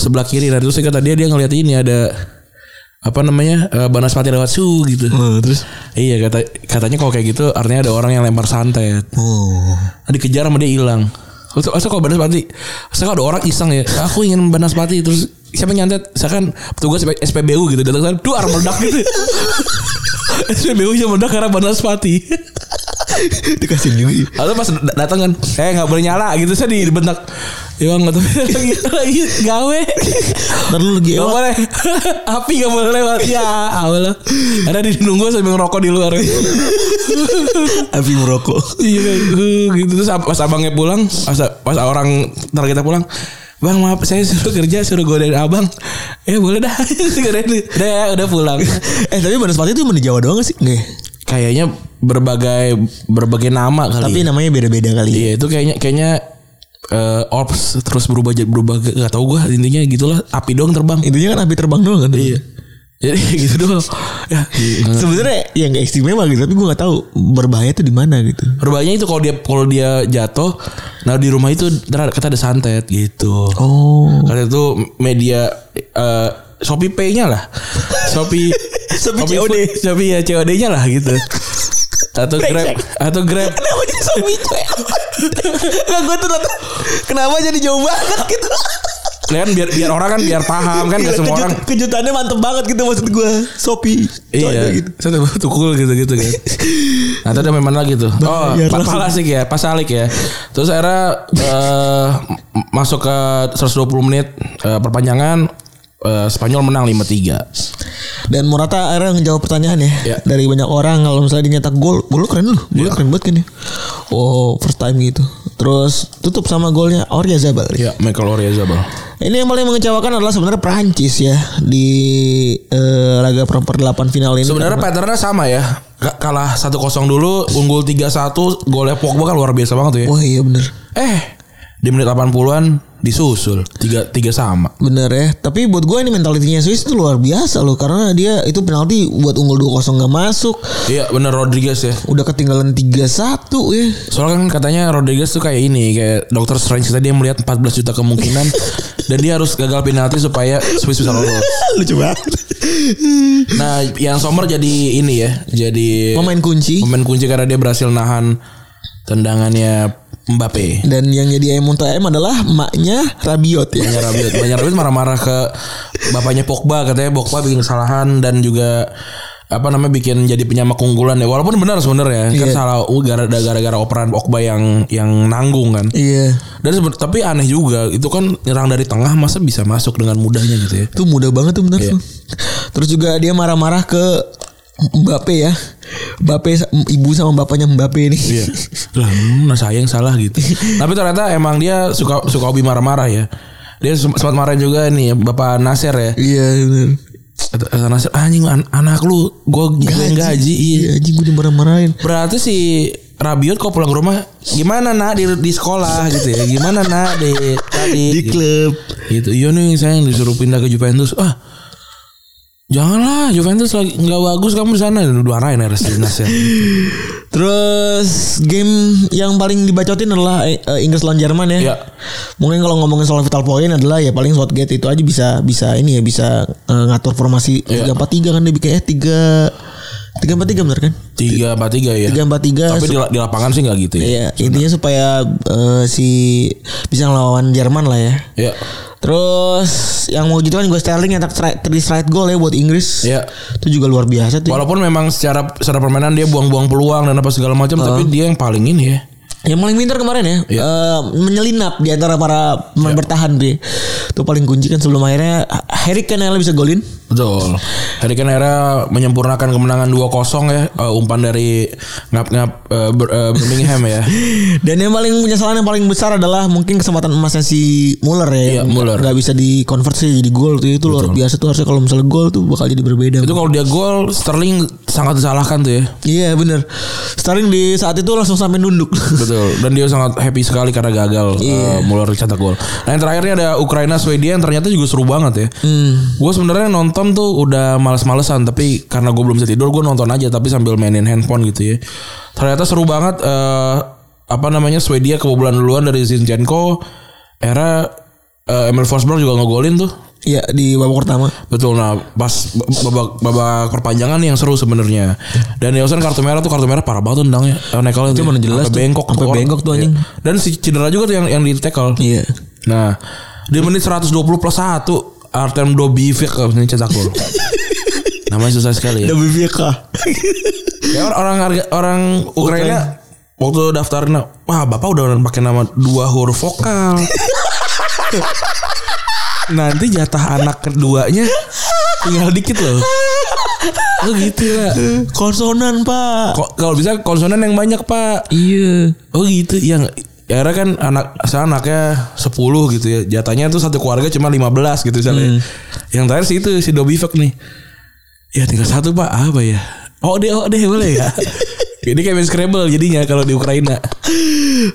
Speaker 3: Sebelah kiri. Nah, terus kata dia dia ngeliat ini ada apa namanya? eh, Banaspati lewat su gitu.
Speaker 4: Eh, terus.
Speaker 3: Iya kata katanya kalau kayak gitu artinya ada orang yang lempar santet.
Speaker 4: Oh. *laughs*
Speaker 3: Nah, dikejar sama dia hilang. Terus terus kalau Banaspati, saya kalau ada orang iseng ya, aku ingin Banaspati terus siapa yang nyantet? Saya kan petugas SPBU gitu datang sana, duar meledak gitu. *laughs* SPBU nya meledak karena Banaspati.
Speaker 4: Dikasih dulu.
Speaker 3: *laughs* Lalu pas dat- datang kan, eh nggak boleh nyala gitu saya dibentak. Ya nggak tahu *laughs* lagi lagi gawe.
Speaker 4: Ntar lu lagi
Speaker 3: Gak
Speaker 4: ewok.
Speaker 3: boleh *laughs* Api gak boleh lewat Ya Allah Karena dinunggu sambil ngerokok di luar *laughs*
Speaker 4: Api merokok. *laughs*
Speaker 3: Iya uh, gitu terus ab- pas abangnya pulang pas, pas orang ntar kita pulang Bang maaf saya suruh kerja suruh godain abang Ya boleh dah *laughs* Godain lu. Udah ya udah pulang
Speaker 4: eh tapi Banaspati itu emang di Jawa doang gak sih? Nggak. ya?
Speaker 3: *laughs* Kayaknya berbagai berbagai nama kali ya.
Speaker 4: Tapi namanya beda-beda kali. ya.
Speaker 3: Iya itu kayaknya kayaknya eh, Orbs terus berubah jadi- berubah Gak tau gue intinya gitulah Api doang terbang *laughs*
Speaker 4: Intinya kan api terbang doang kan? Iya.
Speaker 3: Jadi *laughs* gitu doang ya,
Speaker 4: Sebenarnya yang gak istimewa gitu, tapi gue nggak tahu berbahaya tuh di mana gitu.
Speaker 3: Berbahayanya itu kalau dia kalau dia jatuh, nah di rumah itu ntar kata ada santet gitu.
Speaker 4: Oh.
Speaker 3: Kata itu media eh Shopee Pay-nya lah. Shopee
Speaker 4: *laughs* Shopee
Speaker 3: Food,
Speaker 4: COD.
Speaker 3: Shopee ya COD-nya lah gitu. Atau Grab
Speaker 4: Brengsek.
Speaker 3: atau Grab.
Speaker 4: Kenapa jadi zombie cuy? *laughs* Gak gue tuh nonton. Kenapa jadi jauh banget gitu?
Speaker 3: Kan biar biar orang kan biar paham kan nggak
Speaker 4: Gila,
Speaker 3: semua
Speaker 4: Iya, kejut-
Speaker 3: orang.
Speaker 4: Kejutannya mantep banget gitu maksud gue. Sopi.
Speaker 3: Iya,
Speaker 4: Gitu.
Speaker 3: saya tuh tukul gitu-gitu kan. Nah, itu ada memang lagi tuh. Oh,
Speaker 4: Bayar
Speaker 3: pa-
Speaker 4: langsung.
Speaker 3: Palasik ya, Pasalik ya. Terus akhirnya eh, m- masuk ke 120 menit eh, perpanjangan eh, Spanyol menang 5-3.
Speaker 4: Dan Morata akhirnya ngejawab pertanyaan ya.
Speaker 3: Iya.
Speaker 4: Dari banyak orang kalau misalnya dia nyetak gol. Gol lu keren lu. Gol lu keren banget kan ya. Oh first time gitu. Terus tutup sama golnya Oryazabal.
Speaker 3: Ya, Michael Oryazabal.
Speaker 4: Ini yang paling mengecewakan adalah sebenarnya Perancis ya di eh, laga perempat 8 final ini.
Speaker 3: Sebenarnya patternnya sama ya. Ka- Kalah 1-0 dulu, unggul 3-1, golnya Pogba kan luar biasa banget tuh ya.
Speaker 4: Wah iya bener
Speaker 3: Eh, di menit 80-an disusul 3 3 sama.
Speaker 4: Bener ya Tapi buat gue ini mentalitinya Swiss itu luar biasa loh Karena dia itu penalti buat unggul 2-0 gak masuk
Speaker 3: Iya, bener Rodriguez ya.
Speaker 4: Udah ketinggalan 3-1 ya
Speaker 3: Soalnya kan katanya Rodriguez tuh kayak ini Kayak Dr. Strange tadi yang melihat 14 juta
Speaker 4: *laughs*
Speaker 3: kemungkinan Dan dia harus gagal penalti supaya Swiss bisa lolos
Speaker 4: *laughs* Lucu banget
Speaker 3: Nah yang Sommer jadi ini ya Jadi
Speaker 4: Pemain kunci
Speaker 3: pemain kunci karena dia berhasil nahan Tendangannya Mbappe
Speaker 4: Dan yang jadi M untuk M adalah Maknya Rabiot ya
Speaker 3: Banyak Rabiot Banyak Rabiot marah-marah ke Bapaknya Pogba Katanya Pogba bikin kesalahan Dan juga apa namanya bikin jadi penyama keunggulan ya walaupun benar sebenarnya kan
Speaker 4: Iya.
Speaker 3: salah uh, gara- gara-gara operan Okba yang yang nanggung kan
Speaker 4: Iya.
Speaker 3: dan seben- tapi aneh juga itu kan nyerang dari tengah masa bisa masuk dengan mudahnya gitu ya
Speaker 4: Itu mudah banget tuh bener
Speaker 3: Iya.
Speaker 4: tuh. Terus juga dia marah-marah ke Mbappe ya. Mbappe sa- ibu sama bapaknya Mbappe nih.
Speaker 3: Iya. Lah, hmm, nah saya yang salah gitu. Tapi ternyata emang dia suka suka hobi marah-marah ya. Dia sem- sempat marah juga nih ya, Bapak Nasir
Speaker 4: *laughs*
Speaker 3: ya.
Speaker 4: Iya bener.
Speaker 3: Kata- kata Nasir, anjing an- anak lu gue gaji. gaji. Iya.
Speaker 4: Iya anjing gue dimarah-marahin.
Speaker 3: Berarti si Rabiot kok pulang ke rumah gimana nak di, di sekolah gitu ya. Gimana nak di tadi
Speaker 4: Di
Speaker 3: gitu.
Speaker 4: klub.
Speaker 3: gitu. Iya nih saya yang disuruh pindah ke Juventus. Ah. Janganlah Juventus lagi nggak bagus kamu di sana dua arahin ya Resi Nasir.
Speaker 4: Terus game yang paling dibacotin adalah eh, eh, Inggris lawan Jerman ya.
Speaker 3: Iya.
Speaker 4: Mungkin kalau ngomongin soal vital point adalah ya paling Southgate itu aja bisa bisa ini ya bisa eh, ngatur formasi
Speaker 3: Iya.
Speaker 4: tiga empat tiga kan dia bikin eh tiga tiga empat tiga benar kan?
Speaker 3: Tiga empat tiga ya.
Speaker 4: Tiga empat tiga.
Speaker 3: Tapi di, la- di lapangan sih nggak gitu ya.
Speaker 4: Iya intinya supaya eh, si bisa ngelawan Jerman lah ya.
Speaker 3: Ya.
Speaker 4: Terus yang mau gitu kan gue Sterling nyetak try- three straight goal ya buat Inggris.
Speaker 3: Iya.
Speaker 4: Itu juga luar biasa tuh.
Speaker 3: Walaupun memang secara secara permainan dia buang-buang peluang dan apa segala macam, tapi dia yang paling ini ya.
Speaker 4: Yang paling pintar kemarin ya,
Speaker 3: Iya.
Speaker 4: eh, menyelinap di antara para pemain bertahan dia. Itu paling kunci kan sebelum akhirnya Harry Kane akhirnya bisa golin.
Speaker 3: Betul. Harry Kane akhirnya menyempurnakan kemenangan 2-0 ya, eh, umpan dari ngap-ngap eh, Ber- eh, Birmingham ya.
Speaker 4: Dan yang paling penyesalan yang paling besar adalah mungkin kesempatan emasnya si Muller ya.
Speaker 3: Iya,
Speaker 4: yang
Speaker 3: Muller.
Speaker 4: Gak bisa dikonversi jadi gol tuh itu luar biasa tuh harusnya kalau misalnya gol tuh bakal jadi berbeda.
Speaker 3: Itu kalau dia gol Sterling sangat disalahkan tuh ya.
Speaker 4: Iya bener Sterling di saat itu langsung sampai nunduk. *laughs*
Speaker 3: Betul. Dan dia sangat happy sekali karena gagal eh, Muller cetak gol. Nah, yang terakhirnya ada Ukraina Swedia yang ternyata juga seru banget ya. Gue sebenarnya nonton tuh udah males-malesan tapi karena gue belum bisa tidur gue nonton aja tapi sambil mainin handphone gitu ya. Ternyata seru banget eh, apa namanya Swedia kebobolan duluan dari Zinchenko era eh, Emil Forsberg juga ngegolin tuh.
Speaker 4: Iya di babak pertama.
Speaker 3: Betul nah pas b- babak babak perpanjangan nih yang seru sebenarnya. Dan Nielsen kartu merah tuh kartu merah parah banget tuh tendangnya. Eh, Nekalnya tuh
Speaker 4: mana jelas tuh.
Speaker 3: sampai bengkok
Speaker 4: Sampai
Speaker 3: orang.
Speaker 4: bengkok tuh anjing.
Speaker 3: Iya. Dan si cedera juga tuh yang yang di tackle.
Speaker 4: Iya.
Speaker 3: Nah, di menit 120 plus 1 Artem Dobivic abis ini cetak
Speaker 4: *laughs*
Speaker 3: gol. Namanya susah sekali ya. Ya, orang- orang harga- orang Ukraina waktu daftarnya, wah bapak udah pakai nama dua huruf vokal. Nanti jatah anak keduanya tinggal dikit loh. Lu gitu lah.
Speaker 4: Konsonan pak.
Speaker 3: Ko- Kalau bisa konsonan yang banyak pak.
Speaker 4: Iya.
Speaker 3: Oh gitu yang akhirnya kan anak saya anaknya 10 gitu ya. Jatahnya tuh satu keluarga cuma 15 gitu
Speaker 4: Hmm.
Speaker 3: misalnya. Yang terakhir sih itu si Dobivek nih. Ya tinggal satu Pak, apa ya? Oh deh, oh deh boleh
Speaker 4: *laughs*
Speaker 3: ya. Ini kayak main Scrabble jadinya kalau di Ukraina.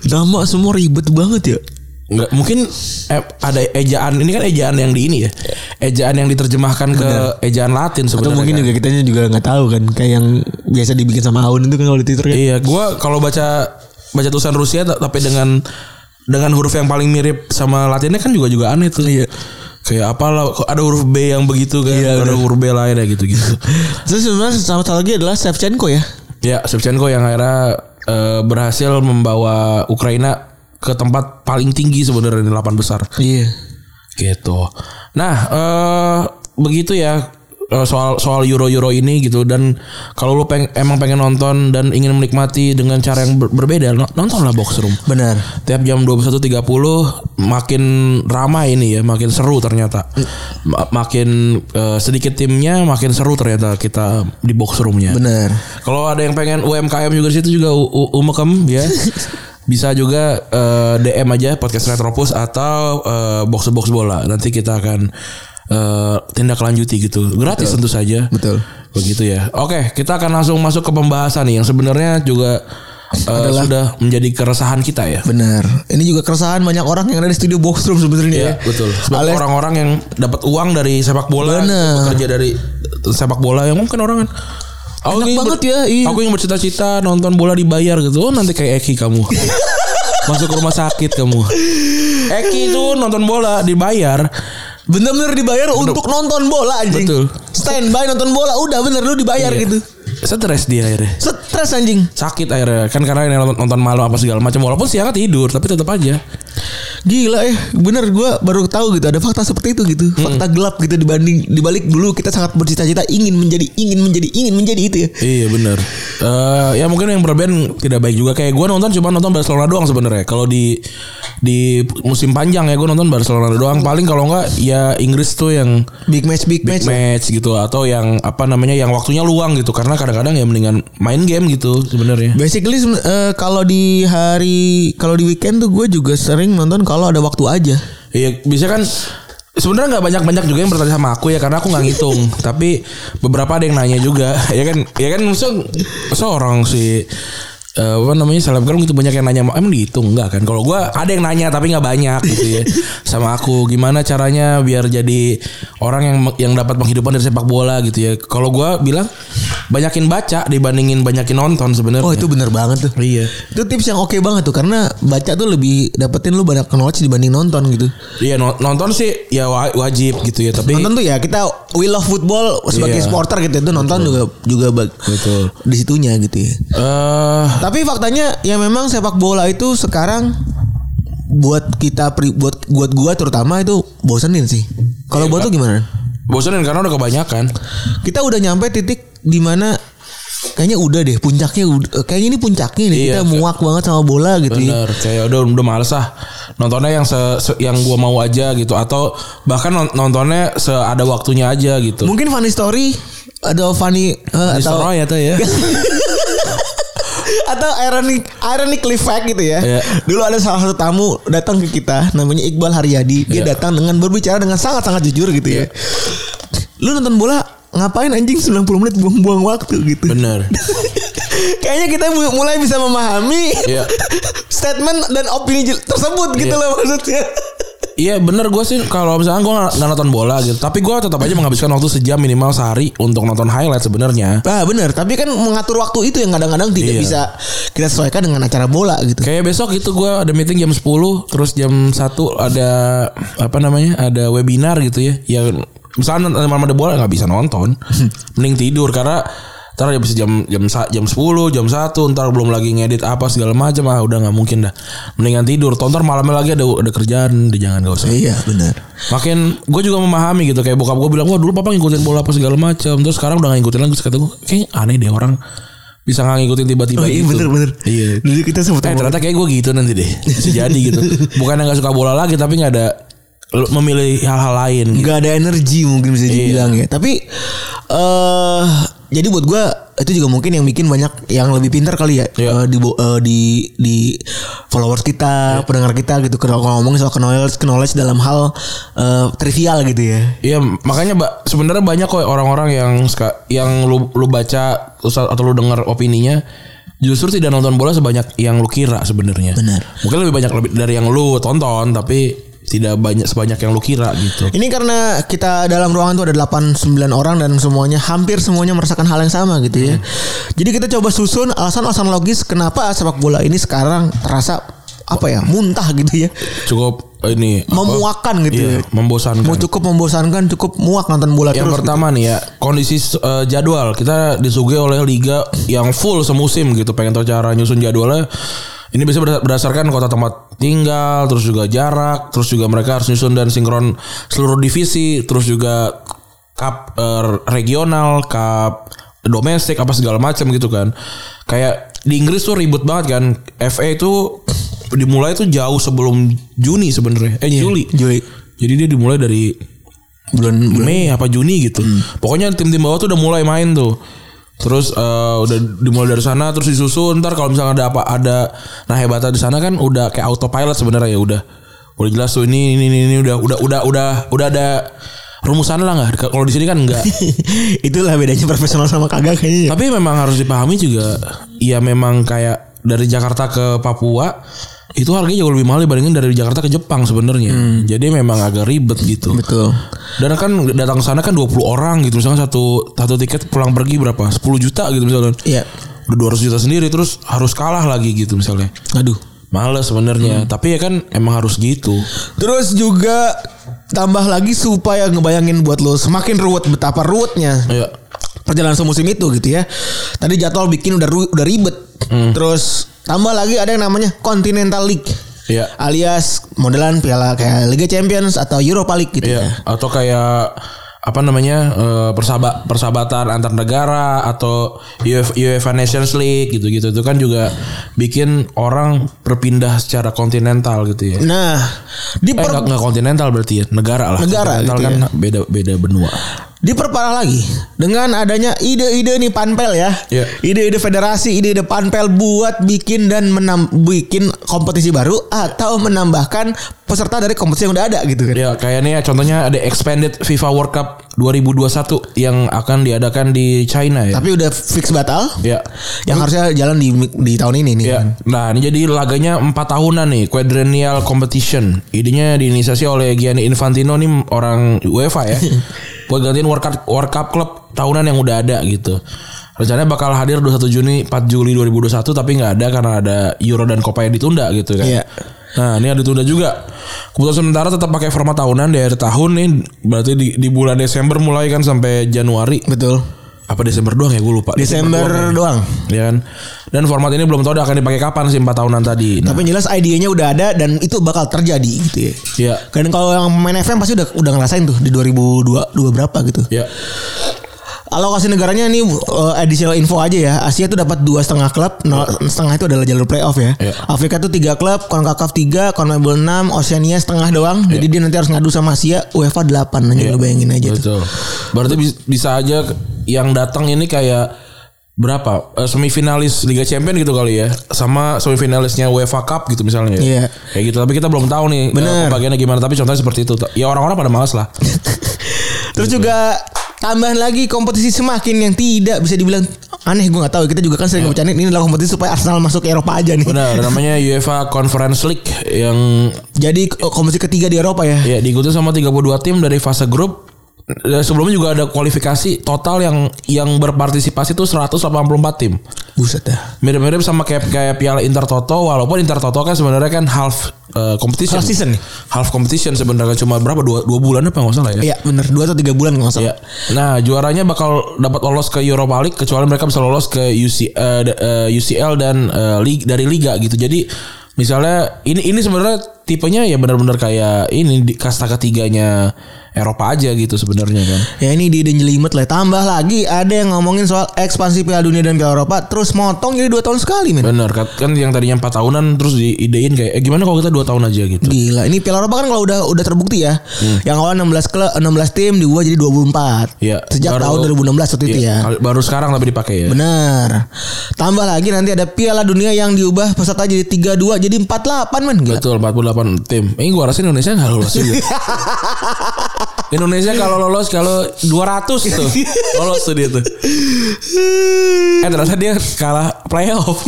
Speaker 4: Nama semua ribet banget ya.
Speaker 3: Nggak, mungkin eh, ada ejaan ini kan ejaan yang di ini ya. Ejaan yang diterjemahkan ke ejaan Latin
Speaker 4: Atau
Speaker 3: sebenarnya.
Speaker 4: mungkin
Speaker 3: kan.
Speaker 4: juga kitanya juga nggak tahu kan kayak yang biasa dibikin sama Aun itu kan kalau di Twitter kan.
Speaker 3: Iya, gua kalau baca baca tulisan Rusia ta- tapi dengan dengan huruf yang paling mirip sama Latinnya kan juga juga aneh tuh. Iya. Kayak apalah kok ada huruf B yang begitu kan, ada huruf B lain ya *laughs* gitu-gitu.
Speaker 4: Terus sebenarnya sama satu lagi adalah Shevchenko ya.
Speaker 3: ya, Shevchenko yang akhirnya eh, berhasil membawa Ukraina ke tempat paling tinggi sebenarnya di delapan besar.
Speaker 4: Iya.
Speaker 3: Gitu. Nah, eh begitu ya eh, soal soal Euro Euro ini gitu dan kalau lu peng, emang pengen nonton dan ingin menikmati dengan cara yang ber- berbeda no- nontonlah box room
Speaker 4: Benar.
Speaker 3: tiap jam 21.30 makin ramai ini ya, makin seru ternyata. Ma- makin eh, sedikit timnya, makin seru ternyata kita di box roomnya.
Speaker 4: Benar.
Speaker 3: Kalau ada yang pengen UMKM juga di situ juga U- U- umekem
Speaker 4: *laughs*
Speaker 3: ya. Bisa juga eh, DM aja podcast Retropus atau eh, box to box bola. Nanti kita akan eh, tindak lanjuti gitu. Gratis tentu saja.
Speaker 4: Betul.
Speaker 3: Begitu ya. Oke, kita akan langsung masuk ke pembahasan nih yang sebenarnya juga eh, sudah menjadi keresahan kita ya.
Speaker 4: Benar. Ini juga keresahan banyak orang yang ada di studio box room
Speaker 3: Iya
Speaker 4: sebenarnya. ya.
Speaker 3: betul. Sebab
Speaker 4: Alias-
Speaker 3: orang-orang yang dapat uang dari sepak bola,
Speaker 4: Bener.
Speaker 3: bekerja dari sepak bola yang mungkin orang kan. Aku ingin
Speaker 4: banget ya, iya.
Speaker 3: Aku yang bercita-cita nonton bola dibayar gitu. Oh, nanti kayak Eki
Speaker 4: *laughs*
Speaker 3: kamu. Masuk ke rumah sakit kamu. Eki itu nonton bola dibayar.
Speaker 4: Bener-bener dibayar untuk nonton bola anjing.
Speaker 3: Betul.
Speaker 4: Standby nonton bola udah bener lu dibayar
Speaker 3: Iya.
Speaker 4: gitu.
Speaker 3: Stres dia akhirnya.
Speaker 4: Stres anjing.
Speaker 3: Sakit akhirnya kan karena ini nonton, nonton malam apa segala macam walaupun siangnya tidur tapi tetap aja.
Speaker 4: Gila ya, bener gue baru tahu gitu ada fakta seperti itu gitu, fakta gelap gitu dibanding dibalik dulu kita sangat bercita-cita ingin menjadi ingin menjadi ingin menjadi itu ya.
Speaker 3: Iya benar. Eh ya mungkin yang berlebihan tidak baik juga. Kayak gue nonton cuma nonton Barcelona doang sebenarnya. Kalau di di musim panjang ya gue nonton Barcelona doang. Paling kalau enggak ya Inggris tuh yang
Speaker 4: Big match big,
Speaker 3: big
Speaker 4: match.
Speaker 3: match gitu atau yang apa namanya yang waktunya luang gitu. Karena kadang-kadang ya mendingan main game gitu sebenarnya.
Speaker 4: Basically seben- eh, kalau di hari kalau di weekend tuh gue juga sering nonton kalau ada waktu aja.
Speaker 3: Iya bisa kan sebenarnya nggak banyak-banyak juga yang bertanya sama aku ya karena aku nggak
Speaker 4: *laughs*
Speaker 3: ngitung tapi beberapa ada yang nanya juga ya kan ya kan maksud seorang si eh, apa namanya selebgram gitu banyak yang nanya emang dihitung nggak kan kalau gua ada yang nanya tapi nggak banyak
Speaker 4: *laughs*
Speaker 3: gitu ya sama aku gimana caranya biar jadi orang yang yang dapat penghidupan dari sepak bola gitu ya kalau gua bilang banyakin baca dibandingin banyakin nonton sebenarnya
Speaker 4: Oh itu bener banget tuh.
Speaker 3: iya
Speaker 4: Itu tips yang oke banget tuh karena baca tuh lebih dapetin lu banyak knowledge dibanding nonton gitu.
Speaker 3: iya no- nonton sih ya wa- wajib gitu ya tapi
Speaker 4: Nonton tuh ya kita we love football sebagai
Speaker 3: Iya.
Speaker 4: supporter gitu itu nonton juga juga bag-
Speaker 3: Betul.
Speaker 4: di situnya gitu ya.
Speaker 3: eh
Speaker 4: Tapi faktanya ya memang sepak bola itu sekarang buat kita pri- buat buat gua terutama itu bosenin sih. Kalau buat tuh gimana?
Speaker 3: bosan karena udah kebanyakan
Speaker 4: Kita udah nyampe titik di mana kayaknya udah deh puncaknya udah- kayaknya ini puncaknya nih
Speaker 3: Iya,
Speaker 4: kita
Speaker 3: kayak-
Speaker 4: muak banget sama bola gitu. ya.
Speaker 3: bener kayak udah udah males ah nontonnya yang se, se- yang gua mau aja gitu atau bahkan non- nontonnya seada waktunya aja gitu
Speaker 4: Mungkin funny story atau funny eh, atau
Speaker 3: Destroy atau ya
Speaker 4: *laughs* atau ironic ironically fact gitu ya.
Speaker 3: Iya.
Speaker 4: Dulu ada salah satu tamu datang ke kita namanya Iqbal Haryadi. Dia
Speaker 3: Iya.
Speaker 4: datang dengan berbicara dengan sangat-sangat jujur gitu ya. Lu nonton bola ngapain anjing 90 menit buang-buang waktu gitu.
Speaker 3: bener
Speaker 4: *laughs* Kayaknya kita mu- mulai bisa memahami
Speaker 3: Iya.
Speaker 4: statement dan opini jel- tersebut gitu
Speaker 3: Iya.
Speaker 4: loh maksudnya.
Speaker 3: Iya bener gue sih kalau misalkan gue nggak nonton bola gitu tapi gua tetap aja menghabiskan waktu sejam minimal sehari untuk nonton highlight sebenarnya
Speaker 4: Nah bener Tapi kan mengatur waktu itu yang kadang-kadang tidak
Speaker 3: Iya.
Speaker 4: bisa kita sesuaikan dengan acara bola gitu
Speaker 3: Kayak besok itu gua ada meeting jam 10 Terus jam 1 ada Apa namanya Ada webinar gitu ya Ya Misalnya nonton malam ada bola nggak bisa
Speaker 4: *laughs*
Speaker 3: nonton Mending tidur Karena Ntar ya bisa jam jam sa- jam 10 jam 1 Ntar belum lagi ngedit apa segala macam ah udah nggak mungkin dah mendingan tidur Tau Ntar malamnya lagi ada ada kerjaan deh, jangan gak usah
Speaker 4: Iya bener
Speaker 3: makin gue juga memahami gitu kayak bokap gue bilang wah dulu papa ngikutin bola apa segala macam terus sekarang udah gak ngikutin lagi terus kata gue kayaknya aneh deh orang bisa gak ngikutin tiba-tiba
Speaker 4: Oh iya
Speaker 3: gitu.
Speaker 4: bener-bener
Speaker 3: iya
Speaker 4: Dulu kita sempat
Speaker 3: Eh
Speaker 4: ngomong-
Speaker 3: ternyata kayak gue gitu nanti deh Bisa jadi *laughs* gitu Bukan yang gak suka bola lagi Tapi gak ada lu- Memilih hal-hal lain gitu.
Speaker 4: nggak ada energi mungkin bisa dibilang ya tapi eh jadi buat gua itu juga mungkin yang bikin banyak yang lebih pintar kali ya
Speaker 3: Iya.
Speaker 4: eh, di bo- eh, di di followers kita pendengar kita gitu kalau kalau ngomongin soal knowledge knowledge dalam hal eh, trivial gitu ya
Speaker 3: Iya makanya Mbak, sebenarnya banyak kok orang-orang yang suka- yang lu, lu baca terus atau lu denger opininya justru tidak nonton bola sebanyak yang lu kira sebenarnya.
Speaker 4: Benar.
Speaker 3: Mungkin lebih banyak lebih dari yang lu tonton tapi tidak banyak sebanyak yang lu kira gitu.
Speaker 4: ini karena kita dalam ruangan tuh ada 8 9 orang dan semuanya hampir semuanya merasakan hal yang sama gitu ya. Jadi kita coba susun alasan-alasan logis kenapa sepak bola ini sekarang terasa apa ya muntah gitu ya
Speaker 3: Cukup eh, ini apa?
Speaker 4: memuakan gitu
Speaker 3: Iya,
Speaker 4: ya.
Speaker 3: membosankan.
Speaker 4: Mau cukup membosankan, cukup muak nonton bola
Speaker 3: Yang
Speaker 4: terus. gitu.
Speaker 3: pertama nih ya kondisi eh, jadwal kita disuguhi oleh liga yang full semusim gitu. Pengen tahu cara nyusun jadwalnya. Ini bisa berda- berdasarkan kota tempat tinggal, terus juga jarak, terus juga mereka harus nyusun dan sinkron seluruh divisi, terus juga cup eh, regional, cup domestik apa segala macam gitu kan. Kayak di Inggris tuh ribut banget kan. FA itu dimulai tuh jauh sebelum Juni sebenarnya. Eh Juli.
Speaker 4: Juli.
Speaker 3: Jadi dia dimulai dari
Speaker 4: bulan *laughs*
Speaker 3: Mei apa Juni gitu. Pokoknya tim-tim bawah tuh udah mulai main tuh. Terus eh, udah dimulai dari sana terus disusun ntar kalau misalnya ada apa ada nah hebatnya di sana kan udah kayak autopilot sebenarnya ya udah udah jelas tuh ini ini ini, ini udah udah udah udah udah ada rumusan lah nggak kalau di sini kan
Speaker 4: *laughs* Iya.
Speaker 3: enggak
Speaker 4: Itulah bedanya profesional sama kagak kayaknya. ya.
Speaker 3: tapi memang harus dipahami juga ya memang kayak dari Jakarta ke Papua itu harganya jauh lebih mahal dibandingin dari Jakarta ke Jepang sebenarnya jadi memang agak ribet gitu
Speaker 4: Betul.
Speaker 3: dan kan datang ke sana kan 20 orang gitu misalnya satu satu tiket pulang pergi berapa? 10 juta gitu misalnya.
Speaker 4: Iya.
Speaker 3: Udah 200 juta sendiri terus harus kalah lagi gitu misalnya.
Speaker 4: Aduh.
Speaker 3: Males sebenarnya,
Speaker 4: Hmm.
Speaker 3: tapi ya kan emang harus gitu.
Speaker 4: Terus juga tambah lagi supaya ngebayangin buat lo semakin ruwet betapa ruwetnya
Speaker 3: Ya.
Speaker 4: perjalanan semusim itu gitu ya. Tadi
Speaker 3: Hmm.
Speaker 4: jadwal bikin udah ru- udah ribet. Terus tambah lagi ada yang namanya Continental League.
Speaker 3: Iya.
Speaker 4: Alias modelan piala kayak Liga Champions atau Europa League gitu
Speaker 3: Iya.
Speaker 4: ya.
Speaker 3: Atau kayak apa namanya eh, persaba- persahabatan antar negara atau UEF- UEFA Nations League gitu-gitu itu kan juga bikin orang berpindah secara kontinental gitu ya.
Speaker 4: Nah, di
Speaker 3: Eh nggak nggak kontinental berarti ya negara lah.
Speaker 4: Negara
Speaker 3: kontinental
Speaker 4: gitu
Speaker 3: kan beda beda benua.
Speaker 4: Diperparah lagi dengan adanya ide-ide nih panpel ya.
Speaker 3: Iya.
Speaker 4: Ide-ide federasi, ide-ide panpel buat bikin dan menam bikin kompetisi baru atau menambahkan peserta dari kompetisi yang udah ada gitu kan.
Speaker 3: Ya kayak nih ya, contohnya ada expanded FIFA World Cup 2021 yang akan diadakan di China ya.
Speaker 4: Tapi udah fix batal.
Speaker 3: ya.
Speaker 4: Yang harusnya jalan di di tahun ini nih.
Speaker 3: Ya. Nah, ini jadi laganya 4 tahunan nih, Quadrennial Competition. Idenya diinisiasi oleh Gianni Infantino nih orang UEFA ya.
Speaker 4: Iya.
Speaker 3: buat gantiin World Cup, World Cup Club tahunan yang udah ada gitu. Rencananya bakal hadir 21 Juni 4 Juli 2021 tapi nggak ada karena ada Euro dan Copa yang ditunda gitu kan.
Speaker 4: Iya.
Speaker 3: Nah ini ada tunda juga Keputusan sementara tetap pakai format tahunan Dari akhir tahun nih Berarti di, di bulan Desember mulai kan sampai Januari
Speaker 4: Betul.
Speaker 3: Apa Desember doang ya gue lupa
Speaker 4: Desember
Speaker 3: doang ya.
Speaker 4: doang.
Speaker 3: Ya kan? Dan format ini belum tahu udah akan dipakai kapan sih 4 tahunan tadi. Nah,
Speaker 4: Tapi yang jelas idenya udah ada dan itu bakal terjadi gitu ya.
Speaker 3: Iya.
Speaker 4: Dan kalau yang main FM pasti udah udah ngerasain tuh di 2002 dua berapa gitu.
Speaker 3: ya.
Speaker 4: Alokasi negaranya ini uh, additional info aja ya. Asia tuh dapat dua setengah klub, nol- setengah itu adalah jalur playoff ya.
Speaker 3: Iya.
Speaker 4: Afrika tuh tiga klub, Concacaf tiga, Conmebol enam, Oceania setengah doang.
Speaker 3: Iya.
Speaker 4: Jadi dia nanti harus ngadu sama Asia, UEFA delapan aja lu bayangin aja tuh.
Speaker 3: Betul. Berarti bis- bisa aja yang datang ini kayak berapa? Eh, Semifinalis Liga Champion gitu kali ya. Sama semifinalisnya UEFA Cup gitu misalnya.
Speaker 4: Iya.
Speaker 3: ya. Kayak gitu tapi kita belum tahu nih eh,
Speaker 4: Bener.
Speaker 3: pembagiannya gimana tapi contohnya seperti itu. Ya orang-orang pada males lah.
Speaker 4: Terus juga tambahan lagi kompetisi semakin yang tidak bisa dibilang aneh gue nggak tahu kita juga kan sering bercanda ini adalah kompetisi supaya Arsenal masuk ke Eropa aja nih.
Speaker 3: Iya. Benar, namanya UEFA Conference League yang
Speaker 4: Jadi eh, kompetisi ketiga di Eropa ya.
Speaker 3: Ya diikuti sama 32 tim dari fase grup. Dan sebelumnya juga ada kualifikasi total yang yang berpartisipasi itu 184 tim.
Speaker 4: Buset
Speaker 3: ya.
Speaker 4: dah.
Speaker 3: Mirip-mirip sama kayak kayak Piala Intertoto walaupun Intertoto kan sebenarnya kan half eh, competition.
Speaker 4: Half season nih.
Speaker 3: Half competition sebenarnya cuma berapa dua, dua bulan apa nggak salah ya.
Speaker 4: Iya bener dua atau tiga bulan nggak salah.
Speaker 3: Iya. Nah, juaranya bakal dapat lolos ke Europa League kecuali mereka bisa lolos ke UC, eh, d- eh, UCL dan eh, lig- dari liga gitu. Jadi misalnya ini ini sebenarnya tipenya ya benar-benar kayak ini di kasta ketiganya Eropa aja gitu sebenarnya kan.
Speaker 4: Ya ini di jelimet lah. Tambah lagi ada yang ngomongin soal ekspansi Piala Dunia dan Piala Eropa terus motong jadi dua tahun sekali men.
Speaker 3: Bener kan kan yang tadinya 4 tahunan terus diidein kayak eh gimana kalau kita 2 tahun aja gitu.
Speaker 4: Gila, ini Piala Eropa kan kalau udah udah terbukti ya.
Speaker 3: Hmm.
Speaker 4: Yang awal 16 klub 16 tim diubah jadi 24.
Speaker 3: Iya.
Speaker 4: Sejak
Speaker 3: Baru-
Speaker 4: tahun 2016 waktu itu
Speaker 3: Iya,
Speaker 4: ya.
Speaker 3: kali- Baru sekarang tapi dipakai ya.
Speaker 4: Bener. Tambah lagi nanti ada Piala Dunia yang diubah peserta jadi 32 jadi 48 men gila.
Speaker 3: Betul 48 tim. Ini gua rasa Indonesia nggak lolos *laughs* juga. Indonesia kalau lolos kalau 200 *laughs* tuh lolos tuh dia tuh. Eh ternyata dia kalah playoff.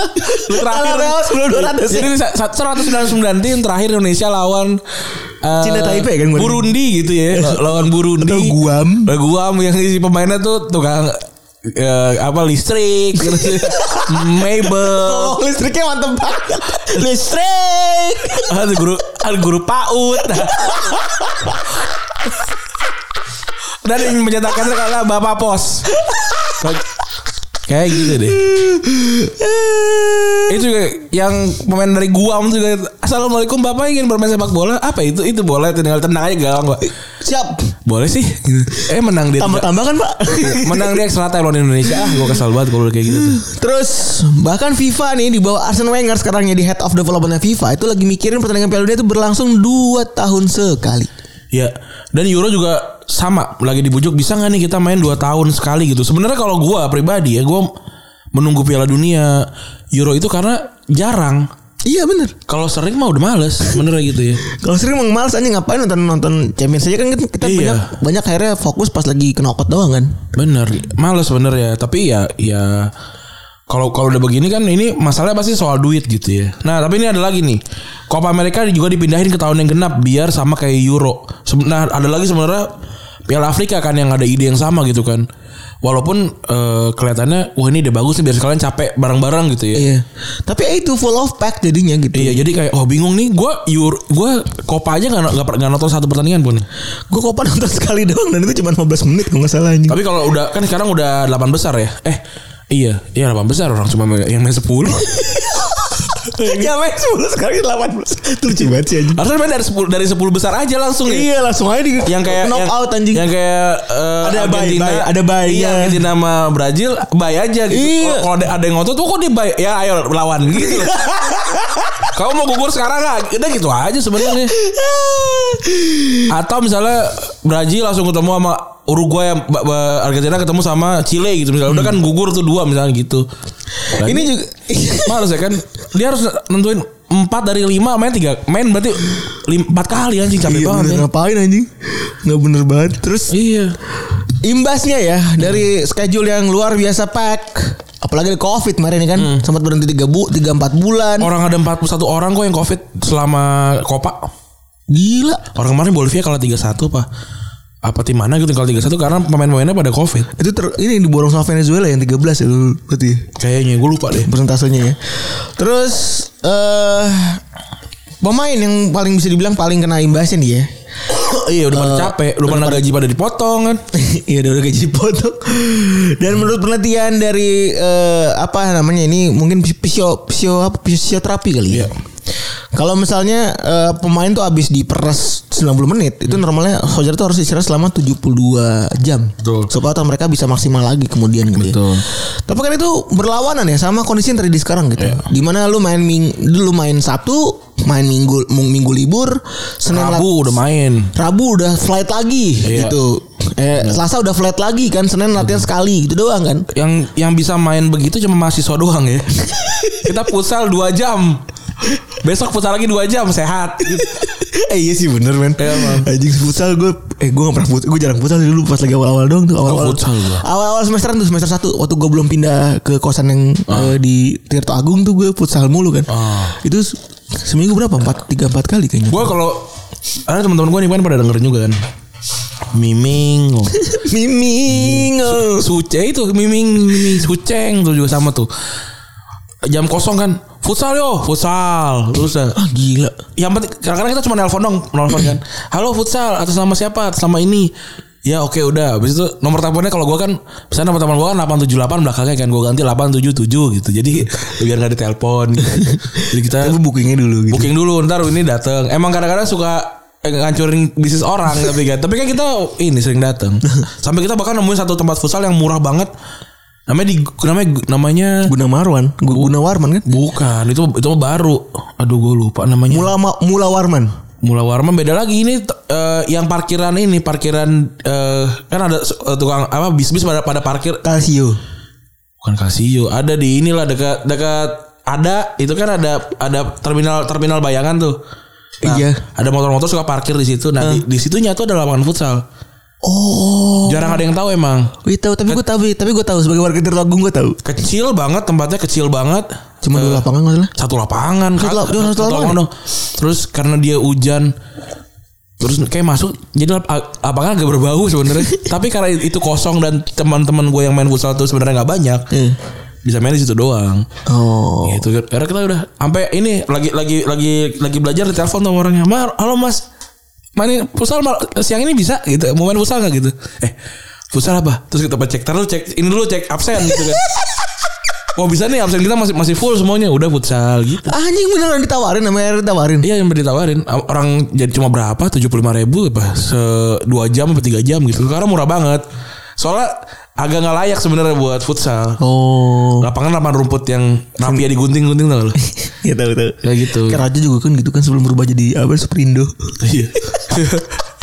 Speaker 3: *laughs* Lu
Speaker 4: Kalah playoff sebelum 200 ya?
Speaker 3: Jadi sa- sa- 199 tim terakhir Indonesia lawan eh,
Speaker 4: Cina Taipei kan, kemarin?
Speaker 3: Burundi gitu ya. Law- Lawan Burundi.
Speaker 4: Atau Guam.
Speaker 3: Lawan Guam yang isi pemainnya tuh tukang eh, apa *laughs* listrik gitu. Mebel.
Speaker 4: Oh, listriknya mantep
Speaker 3: *laughs*
Speaker 4: banget. Listrik.
Speaker 3: Ada guru ada guru PAUD. Dan yang menyatakan kalau Bapak Pos. Kayak gitu deh. Itu juga yang pemain dari Guam juga Assalamualaikum Bapak ingin bermain sepak bola? Apa itu? Itu bola tinggal tenang aja galang, Pak.
Speaker 4: Siap.
Speaker 3: Boleh sih. Eh menang dia. tiga-
Speaker 4: Tambah-tambah kan, Pak?
Speaker 3: Iya, Menang dia extra time lawan Indonesia. Ah, gua kesal banget kalau kayak gitu tuh.
Speaker 4: *laughs* Terus bahkan FIFA nih di bawah Arsene Wenger sekarang jadi head of developmentnya FIFA itu lagi mikirin pertandingan Piala Dunia itu berlangsung 2 tahun sekali.
Speaker 3: Ya, dan Euro juga sama lagi dibujuk bisa nggak nih kita main 2 tahun sekali gitu. Sebenarnya kalau gua pribadi ya gua menunggu Piala Dunia Euro itu karena jarang.
Speaker 4: Iya bener.
Speaker 3: Kalau sering mah udah males, bener gitu ya.
Speaker 4: Kalau sering emang males aja ngapain nonton nonton Champions aja kan kita kita
Speaker 3: Iya.
Speaker 4: banyak banyak akhirnya fokus pas lagi knockout doang kan.
Speaker 3: Bener, males bener ya. Tapi ya ya kalau kalau udah begini kan ini masalahnya pasti soal duit gitu ya. Nah tapi ini ada lagi nih. Copa America juga dipindahin ke tahun yang genap biar sama kayak Euro. Seben- Nah ada lagi sebenarnya Piala Afrika kan yang ada ide yang sama gitu kan. Walaupun eh, kelihatannya wah ini udah bagus nih biar sekalian capek bareng-bareng gitu ya.
Speaker 4: Iya. Tapi ya itu full of pack jadinya gitu.
Speaker 3: Iya jadi kayak oh bingung nih gue Euro gue Copa aja nggak nggak per- nggak nonton satu pertandingan pun.
Speaker 4: Gue kopan nonton sekali doang dan itu cuma 15 menit kalau nggak salah anjing.
Speaker 3: Tapi kalau udah kan sekarang udah 8 besar ya. Eh iya, iya 8 besar orang cuma yang main 10.
Speaker 4: Nyampe 10 sekarang 18. Itu lucu banget sih anjing.
Speaker 3: Harusnya main dari 10 dari 10 besar aja langsung ya.
Speaker 4: Iya langsung aja di
Speaker 3: Yang kayak
Speaker 4: knock
Speaker 3: yang,
Speaker 4: out anjing.
Speaker 3: Yang kayak eh,
Speaker 4: Ada bye,
Speaker 3: Argentina,
Speaker 4: bye, ada bye-nya.
Speaker 3: Iya, Argentina sama Brazil bye aja gitu.
Speaker 4: Iya.
Speaker 3: Kalau- Kalau ada, ada yang ngotot, "Oh, kok dia bye?" Ya ayo lawan
Speaker 4: *laughs*
Speaker 3: gitu. loh. Kamu mau gugur sekarang nggak? Udah gitu aja sebenarnya. Atau misalnya Brazil langsung ketemu sama Uruguay ba- ba- Argentina ketemu sama Chile gitu misalnya. Udah kan gugur tuh dua misalnya gitu. Berarti
Speaker 4: Hmm. Nah, Ini juga
Speaker 3: *laughs* males ya kan. Dia harus nentuin 4 dari 5 main 3. Main berarti 4 kali anjing capek
Speaker 4: Iya
Speaker 3: banget.
Speaker 4: bener
Speaker 3: ya.
Speaker 4: ngapain anjing Nggak bener banget Terus
Speaker 3: Iya.
Speaker 4: imbasnya ya Dari schedule yang luar biasa pack Apalagi ada covid kemarin ya kan Sempat berhenti 3, bu, 3 4 bulan
Speaker 3: Hmm. Orang ada 41 orang kok yang Covid selama Copa.
Speaker 4: Gila
Speaker 3: Orang kemarin Bolivia kalah 3-1 apa apa tim mana gitu kalah 3-1 karena pemain-pemainnya pada Covid.
Speaker 4: Itu ter- ini yang diborong sama Venezuela yang 13 ya lu- Berarti ya?
Speaker 3: Kayaknya gue lupa deh.
Speaker 4: persentasenya ya. Terus eh pemain yang paling bisa dibilang paling kena imbasnya nih ya.
Speaker 3: iya udah pada
Speaker 4: Eh,
Speaker 3: capek, udah pada gaji pada dipotong kan.
Speaker 4: *laughs* Iya udah udah gaji dipotong. Dan menurut penelitian dari eh, apa namanya ini mungkin fisio fisio apa fisioterapi kali ya.
Speaker 3: Iya.
Speaker 4: Kalau misalnya eh, pemain tuh habis diperes 90 menit, itu normalnya soldier tuh harus istirahat selama 72 jam.
Speaker 3: Betul.
Speaker 4: Supaya otot mereka bisa maksimal lagi kemudian gitu. ya.
Speaker 3: Betul.
Speaker 4: Tapi kan itu berlawanan ya sama kondisi yang terjadi sekarang gitu.
Speaker 3: Iya.
Speaker 4: Dimana lu main ming, lu main Sabtu, main Minggu minggu libur, Senin
Speaker 3: Rabu
Speaker 4: lat-
Speaker 3: udah main.
Speaker 4: Rabu udah flight lagi
Speaker 3: Iya.
Speaker 4: gitu. Eh, Selasa udah flight lagi kan, Senin latihan sekali gitu doang kan.
Speaker 3: Yang yang bisa main begitu cuma mahasiswa doang ya. *laughs* Kita futsal 2 jam. Besok futsal lagi 2 jam sehat.
Speaker 4: *laughs* eh iya sih bener men.
Speaker 3: Iya, Bang.
Speaker 4: Anjing futsal gue eh gue gak pernah futsal, gue jarang futsal sih dulu pas lagi awal-awal doang tuh awal-awal.
Speaker 3: futsal gua.
Speaker 4: Awal-awal semesteran tuh semester 1 waktu gue belum pindah ke kosan yang eh, di Tirto Agung tuh gue futsal mulu kan.
Speaker 3: Ah.
Speaker 4: Itu se- seminggu berapa? 4 3 4 kali kayaknya. *laughs*
Speaker 3: Gue kalau ada teman-teman gue nih kan pada dengerin juga kan. Miming.
Speaker 4: Miming. oh.
Speaker 3: Suce itu miming miming suceng tuh juga sama tuh. Jam kosong kan. Futsal yo, futsal. Terus ya.
Speaker 4: Ah gila.
Speaker 3: yang penting kadang-kadang kita cuma nelpon dong, nelpon kan. Halo futsal atas nama siapa? Atas nama ini. Ya oke udah. Habis itu nomor teleponnya kalau gua kan misalnya nomor telepon gua kan 878 belakangnya kan gua ganti 877 gitu. Jadi *laughs* biar nggak ditelepon. Gitu. Jadi kita
Speaker 4: Iya. Tapi bookingnya dulu gitu.
Speaker 3: booking dulu ntar ini dateng emang kadang-kadang suka eh, ngancurin bisnis orang tapi kan tapi kan kita ini sering dateng sampai kita bahkan nemuin satu tempat futsal yang murah banget namanya di namanya namanya
Speaker 4: Guna Marwan, Gu- Guna Warman kan?
Speaker 3: bukan itu itu baru aduh gue lupa namanya
Speaker 4: Mula Ma- Mula Warman.
Speaker 3: Mula Warman beda lagi ini t- eh, yang parkiran ini parkiran eh, kan ada eh, tukang apa bis-bis pada pada parkir
Speaker 4: Calcio.
Speaker 3: bukan Casio ada di inilah dekat dekat ada itu kan ada ada terminal terminal bayangan tuh Nah,
Speaker 4: Iya.
Speaker 3: ada motor-motor suka parkir di situ nah di, di situnya tuh ada lapangan futsal
Speaker 4: Oh.
Speaker 3: jarang ada yang tahu emang
Speaker 4: Gue Iya, tahu, tapi gue tahu, tapi gue tahu sebagai warga Tirto Agung gue tahu.
Speaker 3: kecil banget tempatnya kecil banget
Speaker 4: Cuma
Speaker 3: Eh.
Speaker 4: dua lapangan nggak salah.
Speaker 3: satu lapangan
Speaker 4: Satu lap-
Speaker 3: Kagak,
Speaker 4: satu lapangan.
Speaker 3: dong terus karena dia hujan terus kayak masuk jadi lap- lapangan agak berbau
Speaker 4: *laughs*
Speaker 3: sebenarnya tapi karena itu kosong dan teman-teman gue yang main futsal tuh sebenarnya nggak banyak
Speaker 4: Iya.
Speaker 3: bisa main di situ doang
Speaker 4: Oh.
Speaker 3: Gitu karena kita udah sampai ini lagi lagi lagi lagi belajar di telepon sama orangnya. Mar, halo Mas. Main futsal mal- siang ini bisa gitu. Mau main futsal enggak gitu? Eh, futsal apa? Terus kita cek terus cek ini dulu cek absen gitu kan. Wah bisa nih absen kita masih masih full semuanya udah futsal gitu.
Speaker 4: Ah, Anjing beneran ditawarin namanya ditawarin.
Speaker 3: Iya yang ditawarin orang jadi cuma berapa tujuh puluh ribu apa se dua jam atau tiga jam gitu karena murah banget soalnya agak nggak layak sebenarnya buat futsal
Speaker 4: Oh.
Speaker 3: lapangan lapangan rumput yang rapi ya digunting-gunting tau gak lu?
Speaker 4: *laughs* Iya tahu tahu.
Speaker 3: Kayak gitu.
Speaker 4: Keraja juga kan gitu kan sebelum berubah jadi apa *laughs* Superindo.
Speaker 3: Iya.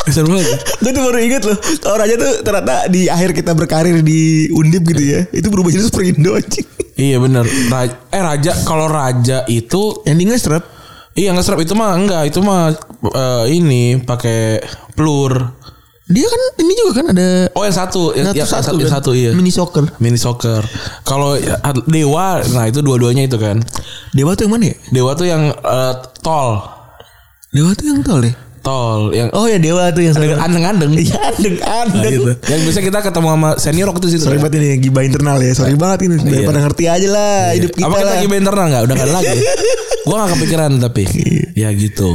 Speaker 3: Besar banget.
Speaker 4: gue tuh baru inget loh Kalau Raja tuh ternyata di akhir kita berkarir di Undip gitu ya Itu berubah jadi Superindo anjing
Speaker 3: Iya benar. eh raja kalau raja itu
Speaker 4: Endingnya strap
Speaker 3: iya nggak serap itu mah enggak itu mah eh, ini pakai pelur.
Speaker 4: Dia kan ini juga kan ada
Speaker 3: Oh yang satu yang,
Speaker 4: Nah,
Speaker 3: yang
Speaker 4: tuh
Speaker 3: satu,
Speaker 4: kan?
Speaker 3: yang satu iya.
Speaker 4: Mini soccer
Speaker 3: Mini soccer. Kalau ya, dewa nah itu dua-duanya itu kan.
Speaker 4: Dewa tuh yang mana ya?
Speaker 3: Dewa tuh yang eh, tol.
Speaker 4: Dewa tuh yang tol ya? deh
Speaker 3: Tol yang
Speaker 4: Oh ya Dewa tuh yang *laughs* sering
Speaker 3: andeng-andeng.
Speaker 4: Iya andeng
Speaker 3: Nah,
Speaker 4: andeng
Speaker 3: gitu. Yang biasa kita ketemu sama senior waktu itu situ. kan?
Speaker 4: Sorry banget ini yang gibah internal ya Sorry banget ini Daripada ngerti aja lah hidup kita
Speaker 3: Iya. Apa kita
Speaker 4: lah
Speaker 3: lagi main internal nggak? Udah nggak ada lagi. Gua nggak kepikiran tapi. ya gitu.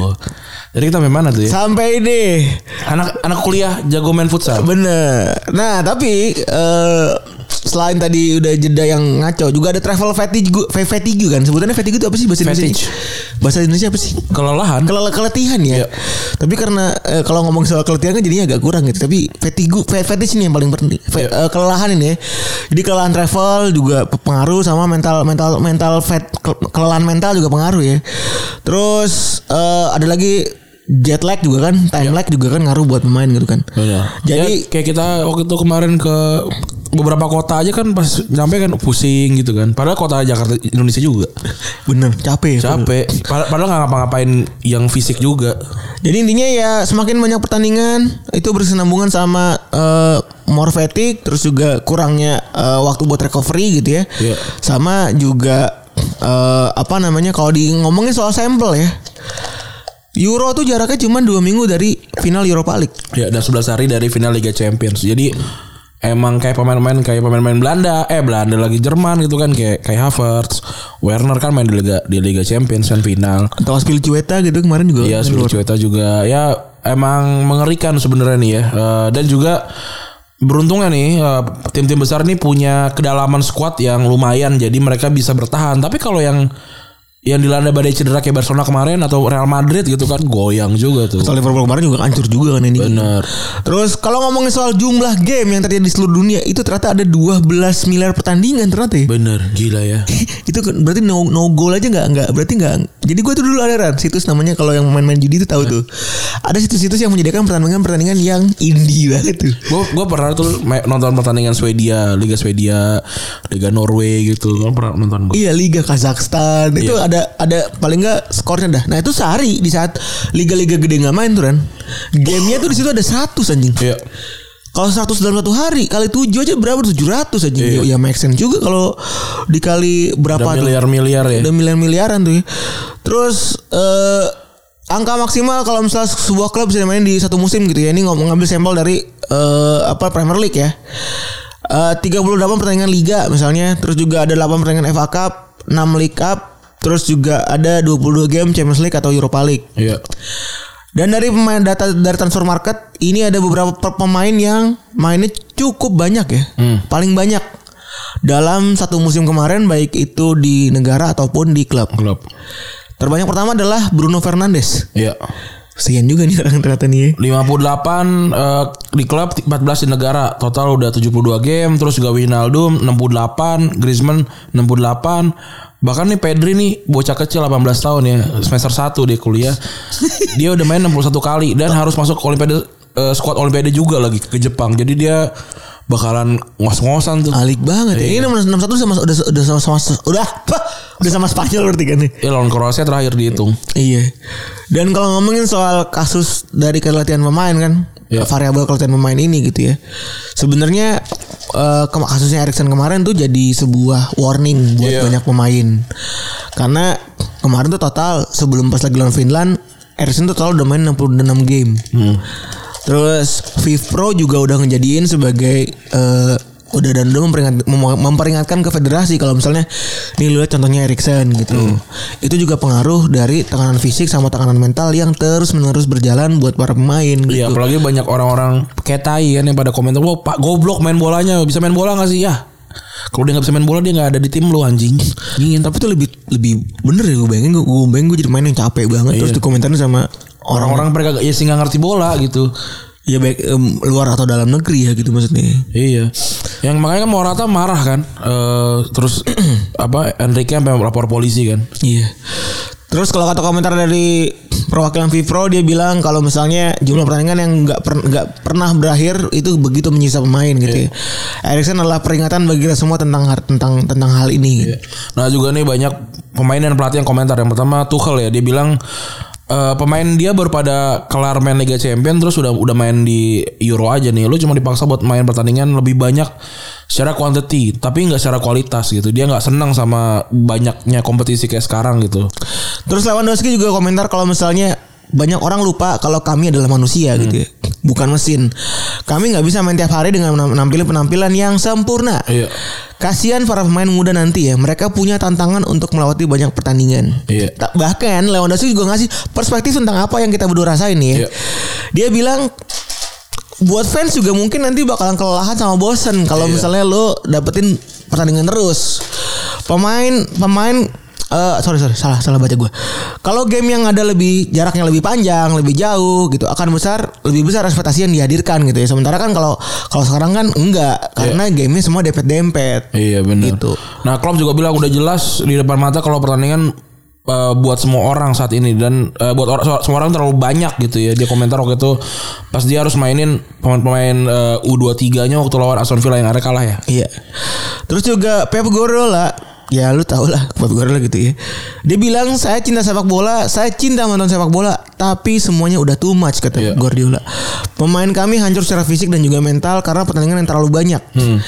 Speaker 3: Jadi kita main mana tuh ya?
Speaker 4: Sampai deh
Speaker 3: Anak anak kuliah jago main futsal.
Speaker 4: Bener. Nah tapi eh, selain tadi udah jeda yang ngaco, juga ada travel fatigue, fe- fatigue kan. Sebutannya fatigue itu apa sih bahasa Indonesia?
Speaker 3: Fetish.
Speaker 4: Bahasa Indonesia apa sih?
Speaker 3: Kelelahan.
Speaker 4: Kelel- keletihan ya. Tapi karena eh, kalau ngomong soal keletihan kan jadinya agak kurang gitu. Tapi fatigue, fe- fetish ini yang paling penting. Fe- eh, kelelahan ini ya. Jadi kelelahan travel juga pe- pengaruh sama mental mental mental fat ke- kelelahan mental juga pengaruh ya. Terus eh, ada lagi jet lag juga kan, time lag juga kan ngaruh buat pemain gitu kan.
Speaker 3: Iya.
Speaker 4: Jadi
Speaker 3: Jadi Ya, kayak kita waktu itu kemarin ke beberapa kota aja kan pas nyampe kan pusing gitu kan. Padahal kota Jakarta Indonesia juga
Speaker 4: bener capek. ya.
Speaker 3: capek. Pad- Padahal nggak ngapa-ngapain yang fisik juga.
Speaker 4: Jadi intinya ya semakin banyak pertandingan itu berkesinambungan sama eh, more fatigue terus juga kurangnya eh, waktu buat recovery gitu ya.
Speaker 3: Iya.
Speaker 4: Sama juga eh, apa namanya kalau di ngomongin soal sampel ya. Euro tuh jaraknya cuma dua minggu dari final Europa League.
Speaker 3: Ya dan 11 hari dari final Liga Champions. Jadi emang kayak pemain-pemain kayak pemain-pemain Belanda, eh Belanda lagi Jerman gitu kan kayak kayak Havertz, Werner kan main di Liga di Liga Champions kan final.
Speaker 4: Atau Spilicueta gitu kemarin juga.
Speaker 3: Iya, Cueta juga ya emang mengerikan sebenarnya nih ya. Eh, dan juga beruntungnya nih eh, tim-tim besar nih punya kedalaman squad yang lumayan jadi mereka bisa bertahan. Tapi kalau yang yang dilanda badai cedera kayak Barcelona kemarin atau Real Madrid gitu kan goyang juga tuh.
Speaker 4: Atau Liverpool kemarin juga hancur juga kan ini.
Speaker 3: Bener.
Speaker 4: Terus kalau ngomongin soal jumlah game yang terjadi di seluruh dunia itu ternyata ada 12 miliar pertandingan ternyata ya.
Speaker 3: Bener, gila ya.
Speaker 4: *laughs* itu kan berarti no, no goal aja nggak nggak berarti nggak jadi gue tuh dulu ada Ran, situs namanya kalau yang main-main judi itu tahu tuh ada situs-situs yang menyediakan pertandingan pertandingan yang indie banget tuh
Speaker 3: gue gue pernah tuh me- nonton pertandingan Swedia Liga Swedia Liga Norway gitu gue pernah nonton gue
Speaker 4: Iya Liga Kazakhstan itu ada ada paling nggak skornya dah. Nah itu sehari di saat liga-liga gede nggak main tuh Ran. Gamenya tuh di situ ada 100 anjing.
Speaker 3: Iya.
Speaker 4: Kalau 100 dalam satu hari kali 7 aja berapa 700 anjing. Ya, ya make sense juga kalau dikali berapa tuh.
Speaker 3: miliar miliar ya
Speaker 4: Udah miliar-miliaran tuh ya. Terus eh angka maksimal kalau misalnya sebuah klub bisa main di satu musim gitu ya. Ini ngomong ngambil sampel dari eh apa Premier League ya. Eh 38 pertandingan liga misalnya, terus juga ada 8 pertandingan FA Cup, 6 League Cup, terus juga ada 22 game Champions League atau Europa League.
Speaker 3: Iya.
Speaker 4: Dan dari pemain data dari transfer market ini ada beberapa pe- pemain yang mainnya cukup banyak ya, paling banyak dalam satu musim kemarin baik itu di negara ataupun di klub.
Speaker 3: klub
Speaker 4: Terbanyak pertama adalah Bruno Fernandes.
Speaker 3: Iya.
Speaker 4: Kesian juga nih orang ternyata nih. ya.
Speaker 3: 58 eh, di klub 14 di negara total udah 72 game terus juga Wijnaldum 68 Griezmann 68 bahkan nih Pedri nih bocah kecil 18 tahun ya semester 1 dia kuliah dia udah main 61 kali dan harus masuk ke olimpiade eh, squad olimpiade juga lagi ke Jepang jadi dia bakalan ngos-ngosan tuh
Speaker 4: Alik banget. Ya. Ini 61 sama udah udah sama sama udah apa? udah sama Spanyol berarti kan nih.
Speaker 3: Ya lawan Kroasia terakhir dihitung.
Speaker 4: Iya. Dan kalau ngomongin soal kasus dari keletihan pemain kan,
Speaker 3: Ya.
Speaker 4: variabel keletihan pemain ini gitu ya. Sebenarnya eh, kema- kasusnya Erikson kemarin tuh jadi sebuah warning buat
Speaker 3: Iya.
Speaker 4: banyak pemain. Karena kemarin tuh total sebelum pas lagi lawan Finland, Erikson tuh total udah main 66 game. Terus Vivpro juga udah ngejadiin sebagai eh, udah dan udah memperingat- mem- memperingatkan ke federasi kalau misalnya nih lu lihat contohnya Erikson gitu. Itu juga pengaruh dari tekanan fisik sama tekanan mental yang terus-menerus berjalan buat para pemain gitu.
Speaker 3: Iya, apalagi banyak orang-orang kayak tai kan yang pada komentar, "Wah, Pak goblok main bolanya, bisa main bola gak sih?" Ya. Kalau dia nggak bisa main bola dia nggak ada di tim lu anjing.
Speaker 4: Iya, tapi tuh lebih lebih bener ya gue bayangin gue gue bayangin gue jadi main yang capek banget terus dikomentarin sama orang
Speaker 3: Orang-orang mereka gak- ya sih nggak ngerti bola gitu.
Speaker 4: ya baik em, luar atau dalam negeri ya gitu maksudnya.
Speaker 3: Iya. Yang makanya kan Morata marah kan. Eh terus *clears throat* apa Enrique sampai lapor polisi kan.
Speaker 4: Iya. Terus kalau kata komentar dari perwakilan Vipro dia bilang kalau misalnya jumlah pertandingan yang nggak per- nggak pernah berakhir itu begitu menyisa pemain gitu. ya. Erikson adalah peringatan bagi kita semua tentang har- tentang tentang hal ini. gitu.
Speaker 3: Nah juga nih banyak pemain dan pelatih yang komentar yang pertama Tuchel ya dia bilang "Eh, pemain dia baru pada kelar main Liga Champions terus udah udah main di Euro aja nih lu cuma dipaksa buat main pertandingan lebih banyak secara quantity tapi nggak secara kualitas gitu dia nggak senang sama banyaknya kompetisi kayak sekarang gitu
Speaker 4: Terus Lewandowski juga komentar kalau misalnya banyak orang lupa kalau kami adalah manusia gitu ya. Bukan mesin. Kami nggak bisa main tiap hari dengan menampilkan penampilan yang sempurna.
Speaker 3: Iya.
Speaker 4: Kasihan para pemain muda nanti ya. Mereka punya tantangan untuk melewati banyak pertandingan.
Speaker 3: Iya.
Speaker 4: Ta- Bahkan Lewandowski juga ngasih perspektif tentang apa yang kita berdua rasain nih ya.
Speaker 3: Iya.
Speaker 4: Dia bilang buat fans juga mungkin nanti bakalan kelelahan sama bosen kalau misalnya lo dapetin pertandingan terus. Pemain pemain eh sorry sorry salah salah baca gue. Kalau game yang ada lebih jaraknya lebih panjang, lebih jauh gitu akan besar lebih besar ekspektasi yang dihadirkan gitu ya. Sementara kan kalau kalau sekarang kan enggak karena gamenya semua dempet-dempet.
Speaker 3: Iya benar.
Speaker 4: Gitu.
Speaker 3: Nah Klopp juga bilang udah jelas di depan mata kalau pertandingan eh, buat semua orang saat ini dan eh, buat orang so- semua orang terlalu banyak gitu ya. Dia komentar waktu itu pas dia harus mainin pemain-pemain eh, U23-nya waktu lawan Aston Villa yang ada kalah ya.
Speaker 4: Iya. Terus juga Pep Guardiola, ya lu tau lah Pep Guardiola gitu ya. Dia bilang saya cinta sepak bola, saya cinta nonton sepak bola, tapi semuanya udah too much kata
Speaker 3: Iya.
Speaker 4: Guardiola. Pemain kami hancur secara fisik dan juga mental karena pertandingan yang terlalu banyak.
Speaker 3: Hmm.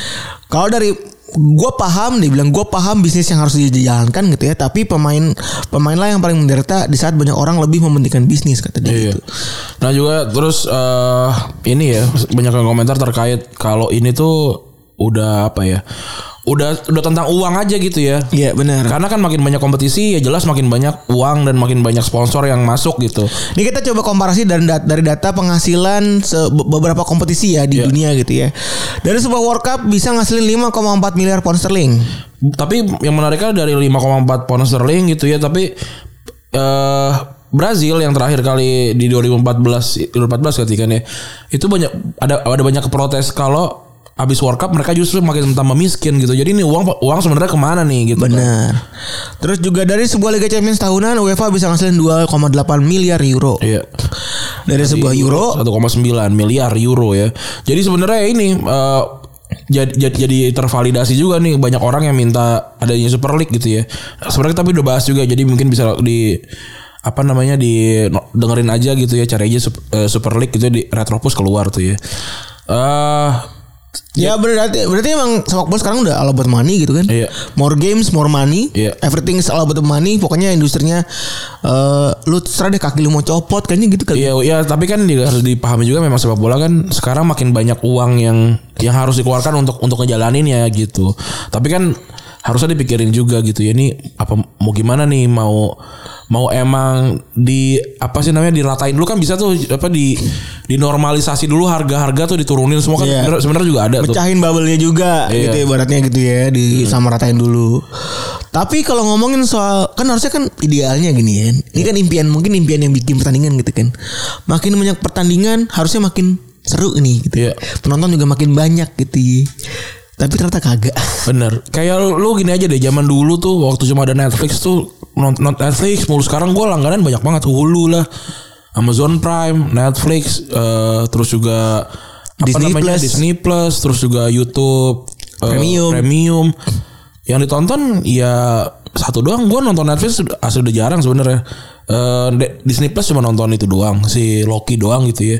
Speaker 4: Kalau dari gue paham dia bilang gue paham bisnis yang harus dijalankan gitu ya tapi pemain pemain lah yang paling menderita di saat banyak orang lebih mementingkan bisnis kata dia
Speaker 3: Iya.
Speaker 4: gitu
Speaker 3: Nah juga terus eh ini ya banyak yang komentar terkait kalau ini tuh udah apa ya? Udah udah tentang uang aja gitu ya.
Speaker 4: iya benar
Speaker 3: Karena kan makin banyak kompetisi ya jelas makin banyak uang dan makin banyak sponsor yang masuk gitu.
Speaker 4: Ini kita coba komparasi dari dat- dari data penghasilan se- be- beberapa kompetisi ya di
Speaker 3: Iya.
Speaker 4: dunia gitu ya. Dari sebuah World Cup bisa ngasilin 5,4 miliar pound sterling.
Speaker 3: Tapi yang menariknya dari 5,4 pound sterling gitu ya, tapi eh Brazil yang terakhir kali di 2014 2014 ketika nih kan ya, itu banyak ada ada banyak protes kalau habis World Cup mereka justru makin tambah miskin gitu. Jadi ini uang uang sebenarnya kemana nih gitu. kan.
Speaker 4: Benar. Terus juga dari sebuah Liga Champions tahunan UEFA bisa ngasilin 2,8 miliar euro.
Speaker 3: Iya.
Speaker 4: Dari sebuah euro
Speaker 3: 1,9 miliar euro ya. Jadi sebenarnya ini eh, jadi, jadi jadi tervalidasi juga nih banyak orang yang minta adanya Super League gitu ya. Sebenarnya tapi udah bahas juga jadi mungkin bisa di apa namanya di no- dengerin aja gitu ya cari aja Sup- eh, Super League gitu ya, di Retropus keluar tuh ya. Eh
Speaker 4: Ya berarti berarti emang sepak bola sekarang udah all about money gitu kan.
Speaker 3: Iya.
Speaker 4: More games, more money.
Speaker 3: Iya.
Speaker 4: Everything is all about money. Pokoknya industrinya eh lu terserah deh kaki lu mau copot kayaknya gitu kali.
Speaker 3: Iya, iya, tapi kan juga harus dipahami juga memang sepak bola kan sekarang makin banyak uang yang yang harus dikeluarkan untuk untuk ngejalaninnya gitu. Tapi kan harusnya dipikirin juga gitu ya ini apa mau gimana nih mau mau emang di apa sih namanya diratain dulu kan bisa tuh apa di dinormalisasi dulu harga-harga tuh diturunin semua kan
Speaker 4: Iya.
Speaker 3: sebenarnya- sebenarnya juga ada tuh.
Speaker 4: pecahin bubble-nya juga
Speaker 3: Iya.
Speaker 4: gitu ya, ibaratnya gitu ya di sama ratain dulu. Tapi kalau ngomongin soal kan harusnya kan idealnya gini ya. Ini kan impian mungkin impian yang bikin pertandingan gitu kan. Makin banyak pertandingan harusnya makin seru ini gitu.
Speaker 3: Iya.
Speaker 4: Penonton juga makin banyak gitu. Tapi ternyata kagak.
Speaker 3: Bener. Kayak lu gini aja deh, zaman dulu tuh waktu cuma ada Netflix tuh nonton nonton Netflix mulu sekarang gue langganan banyak banget Hulu lah, Amazon Prime, Netflix, eh, terus juga apa
Speaker 4: Disney Plus.
Speaker 3: Disney Plus, terus juga YouTube eh,
Speaker 4: Premium.
Speaker 3: Premium. Yang ditonton ya satu doang gue nonton Netflix udah- asli udah jarang sebenarnya. Eh, De- Disney Plus cuma nonton itu doang si Loki doang gitu ya.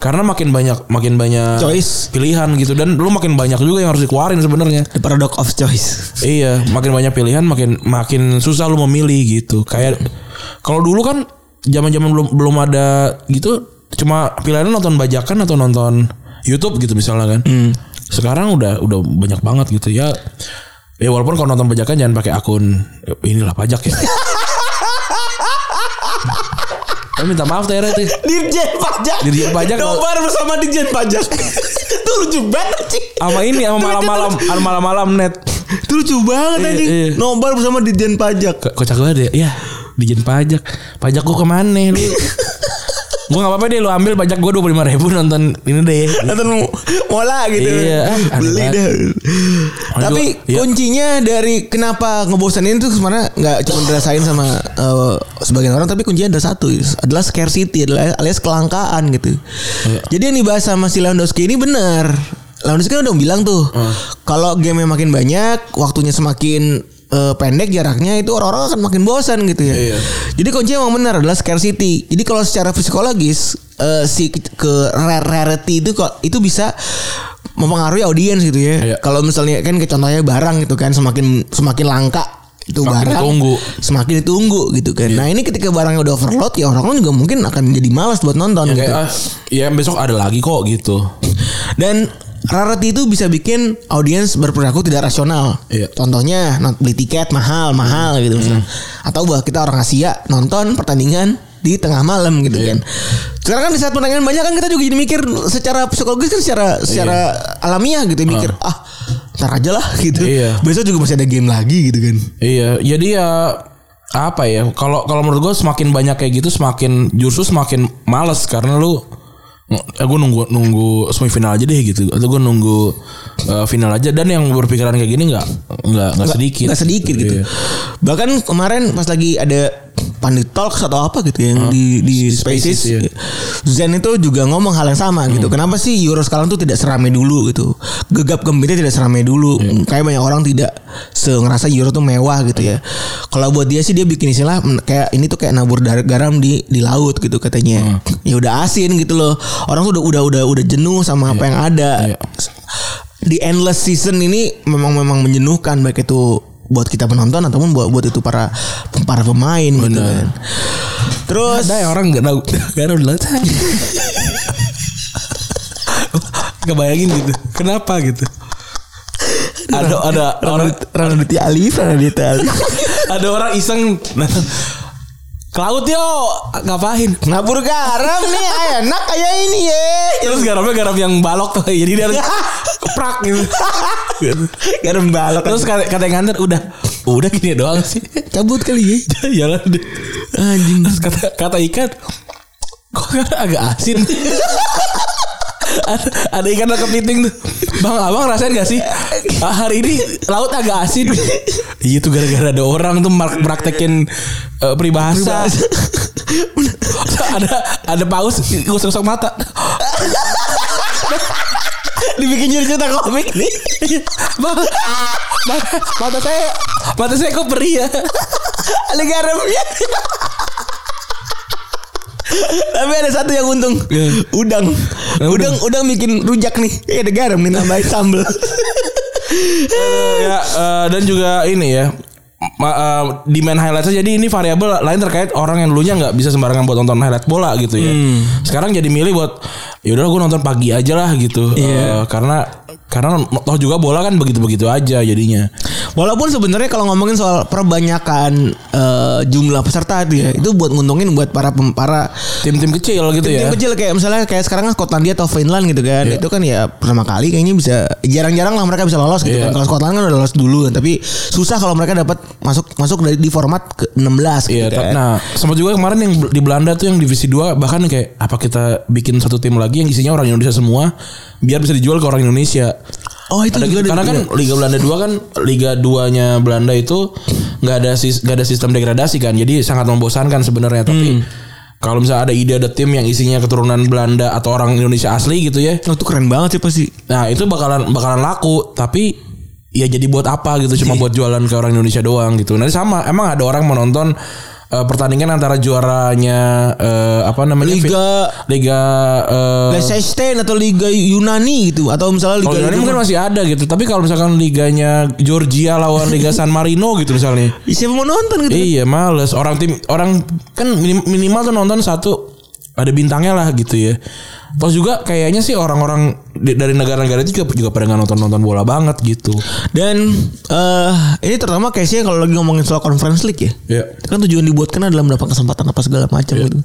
Speaker 3: Karena makin banyak makin banyak
Speaker 4: Choice.
Speaker 3: pilihan gitu dan lu makin banyak juga yang harus dikeluarin sebenarnya.
Speaker 4: The paradox of choice.
Speaker 3: Iya, makin banyak pilihan makin makin susah lu memilih gitu. Kayak kalau dulu kan zaman-zaman belum belum ada gitu cuma pilihannya nonton bajakan atau nonton YouTube gitu misalnya kan. Sekarang udah udah banyak banget gitu ya. Ya walaupun kalau nonton bajakan jangan pakai akun eh, inilah pajak ya. Tapi minta maaf Tere tuh.
Speaker 4: Dirjen pajak.
Speaker 3: Dirjen pajak.
Speaker 4: Nobar bersama Dirjen *laughs* pajak. Itu lucu banget sih.
Speaker 3: Sama ini sama malam-malam sama malam-malam net.
Speaker 4: Itu lucu banget
Speaker 3: Iya,
Speaker 4: anjing.
Speaker 3: iya.
Speaker 4: Nobar bersama Dirjen pajak.
Speaker 3: Ko- kocak banget ya Iya Dijen pajak Pajak gue kemana *laughs* lu Gue gak apa-apa deh Lu ambil pajak gue 25 ribu Nonton ini deh
Speaker 4: Nonton mola gitu.
Speaker 3: Iya, ah, aneh
Speaker 4: Beli
Speaker 3: banget.
Speaker 4: dah.
Speaker 3: Aduh,
Speaker 4: Tapi
Speaker 3: iya.
Speaker 4: kuncinya dari kenapa ngebosenin tuh sebenarnya nggak cuma dirasain sama eh, sebagian orang tapi kuncinya ada satu adalah scarcity adalah alias kelangkaan gitu.
Speaker 3: Iya.
Speaker 4: Jadi yang dibahas sama si Lewandowski ini benar. Lewandowski kan udah bilang tuh
Speaker 3: Ah.
Speaker 4: kalau game makin banyak, waktunya semakin eh, pendek jaraknya itu orang-orang akan makin bosan gitu ya.
Speaker 3: Iya.
Speaker 4: Jadi kuncinya emang benar adalah scarcity. Jadi kalau secara psikologis eh, si ke- ke rare- rarity itu kok itu bisa mempengaruhi audiens gitu ya.
Speaker 3: Iya.
Speaker 4: Kalau misalnya kan kayak contohnya barang gitu kan semakin semakin langka itu
Speaker 3: Semakin
Speaker 4: barang
Speaker 3: ditunggu. Iya.
Speaker 4: semakin ditunggu gitu kan. Nah, ini ketika barangnya udah overload ya orang juga mungkin akan jadi malas buat nonton gitu.
Speaker 3: Kayak ah, Ya besok ada lagi kok gitu
Speaker 4: Dan rarity itu bisa bikin audiens berperilaku tidak rasional. nah,
Speaker 3: Iya. Hmm.
Speaker 4: Contohnya not beli tiket mahal mahal gitu misalnya. Atau bahwa kita orang Asia nonton pertandingan di tengah malam gitu
Speaker 3: Iya.
Speaker 4: kan. Sekarang kan di saat penanganan banyak kan kita juga jadi mikir secara psikologis kan secara
Speaker 3: Iya.
Speaker 4: secara alamiah gitu mikir ah ntar aja lah gitu.
Speaker 3: Iya.
Speaker 4: Besok juga masih ada game lagi gitu kan.
Speaker 3: Iya, jadi ya apa ya? Kalau kalau menurut gue semakin banyak kayak gitu semakin justru semakin males karena lu eh, gue nunggu nunggu semifinal aja deh gitu atau gue nunggu eh, final aja dan yang berpikiran kayak gini nggak nggak nggak sedikit
Speaker 4: Nggak sedikit gitu.
Speaker 3: Iya.
Speaker 4: Bahkan kemarin pas lagi ada Pandit Talks atau apa gitu yang di di Spaces,
Speaker 3: Ah. Spaces, iya.
Speaker 4: Zen itu juga ngomong hal yang sama gitu.
Speaker 3: Hmm.
Speaker 4: Kenapa sih Euro sekarang tuh tidak seramai dulu gitu? Gegap gempitnya tidak seramai dulu.
Speaker 3: Iya.
Speaker 4: Hmm, Kayak banyak orang tidak se ngerasa Euro tuh mewah gitu ya. Kalau buat dia sih dia bikin istilah men- kayak ini tuh kayak nabur dar- garam di di laut gitu katanya.
Speaker 3: Hmm.
Speaker 4: Ya udah asin gitu loh. Orang tuh udah udah udah udah jenuh sama apa yang ada
Speaker 3: Iya.
Speaker 4: di endless season ini memang memang menjenuhkan baik itu buat kita penonton ataupun buat buat itu para para pemain gitu kan. Terus
Speaker 3: Ada ya orang nggak tahu Kan nggak tahu dulu. Kebayangin gitu. Kenapa gitu? Ada ada orang
Speaker 4: Ranaditya Alif, Ranaditya Alif. *laughs*
Speaker 3: ada orang iseng datang, ke laut yo ngapain?
Speaker 4: Ngapur garam nih enak kayak ini *laughs* ya.
Speaker 3: Terus garamnya garam yang balok tuh Jadi dia harus keprak gitu
Speaker 4: Garam balok.
Speaker 3: Terus kata, kata yang nganter udah Udah gini doang sih *laughs*
Speaker 4: cabut kali ya.
Speaker 3: Jalan deh
Speaker 4: Anjing.
Speaker 3: Terus kata, kata ikan Kok kan agak asin ada, ada ikan yang kepiting tuh Bang abang rasain gak sih Ah, Hari ini laut agak asin Iya tuh gara-gara ada orang tuh mar- praktekin eh, peribahasa, ada ada paus gosok-gosok mata
Speaker 4: *laughs* Dibikin jadi cerita komik nih.
Speaker 3: Bang, bang, mata saya mata saya kok perih ya
Speaker 4: Ada garamnya. Tapi ada satu yang untung
Speaker 3: Iya.
Speaker 4: Udang
Speaker 3: Udang.
Speaker 4: Udang Udang bikin rujak nih Eh, Ada garam nih tambahin sambel
Speaker 3: ya eh, dan juga ini ya ma- eh, di main highlight jadi ini variabel lain terkait orang yang dulunya nggak bisa sembarangan buat nonton highlight bola gitu ya
Speaker 4: Hmm.
Speaker 3: sekarang jadi milih buat ya udah gue nonton pagi aja lah gitu
Speaker 4: Iya.
Speaker 3: Eh, karena karena toh juga bola kan begitu begitu aja jadinya
Speaker 4: *laughs* Walaupun sebenarnya kalau ngomongin soal perbanyakan eh, jumlah peserta itu ya, itu buat nguntungin buat para pem- para
Speaker 3: tim-tim kecil gitu
Speaker 4: tim
Speaker 3: ya
Speaker 4: kecil kayak misalnya kayak sekarang kan Skotlandia atau Finland gitu kan.
Speaker 3: Iya.
Speaker 4: Itu kan ya pertama kali kayaknya bisa jarang-jarang lah mereka bisa lolos gitu
Speaker 3: Iya.
Speaker 4: kan. Kalau Skotlandia kan udah lolos dulu kan, tapi susah kalau mereka dapat masuk masuk dari di format ke 16
Speaker 3: Iya,
Speaker 4: gitu kan.
Speaker 3: ta- nah sama juga kemarin yang di Belanda tuh yang divisi 2 bahkan kayak apa kita bikin satu tim lagi yang isinya orang Indonesia semua biar bisa dijual ke orang Indonesia.
Speaker 4: Oh, itu
Speaker 3: Ada
Speaker 4: juga
Speaker 3: gitu.
Speaker 4: ada
Speaker 3: karena kan
Speaker 4: juga.
Speaker 3: Liga Belanda 2 kan Liga 2-nya Belanda itu nggak ada sis- nggak ada sistem degradasi kan. Jadi sangat membosankan sebenarnya
Speaker 4: Hmm.
Speaker 3: tapi kalau misalnya ada ide ada tim yang isinya keturunan Belanda atau orang Indonesia asli gitu ya.
Speaker 4: Oh, itu keren banget sih pasti.
Speaker 3: Nah, itu bakalan bakalan laku, tapi ya jadi buat apa gitu
Speaker 4: Iya.
Speaker 3: cuma buat jualan ke orang Indonesia doang gitu. Nanti sama, emang ada orang menonton eh, pertandingan antara juaranya eh, apa namanya?
Speaker 4: Liga-
Speaker 3: Liga eh,
Speaker 4: Leicester atau Liga Yunani gitu atau misalnya
Speaker 3: kalau
Speaker 4: Liga
Speaker 3: Yunani mungkin masih ada gitu, tapi kalau misalkan liganya Georgia lawan Liga San Marino gitu misalnya.
Speaker 4: siapa mau nonton gitu.
Speaker 3: Iya males Orang tim Orang kan minim- minimal tuh nonton satu Ada bintangnya lah gitu ya Terus juga kayaknya sih orang-orang di- Dari negara-negara itu juga, juga pada nggak nonton-nonton bola banget gitu
Speaker 4: Dan eh ini terutama case-nya kalau lagi ngomongin soal conference league ya.
Speaker 3: Iya.
Speaker 4: Kan tujuan dibuatkan adalah mendapat kesempatan apa segala macam gitu.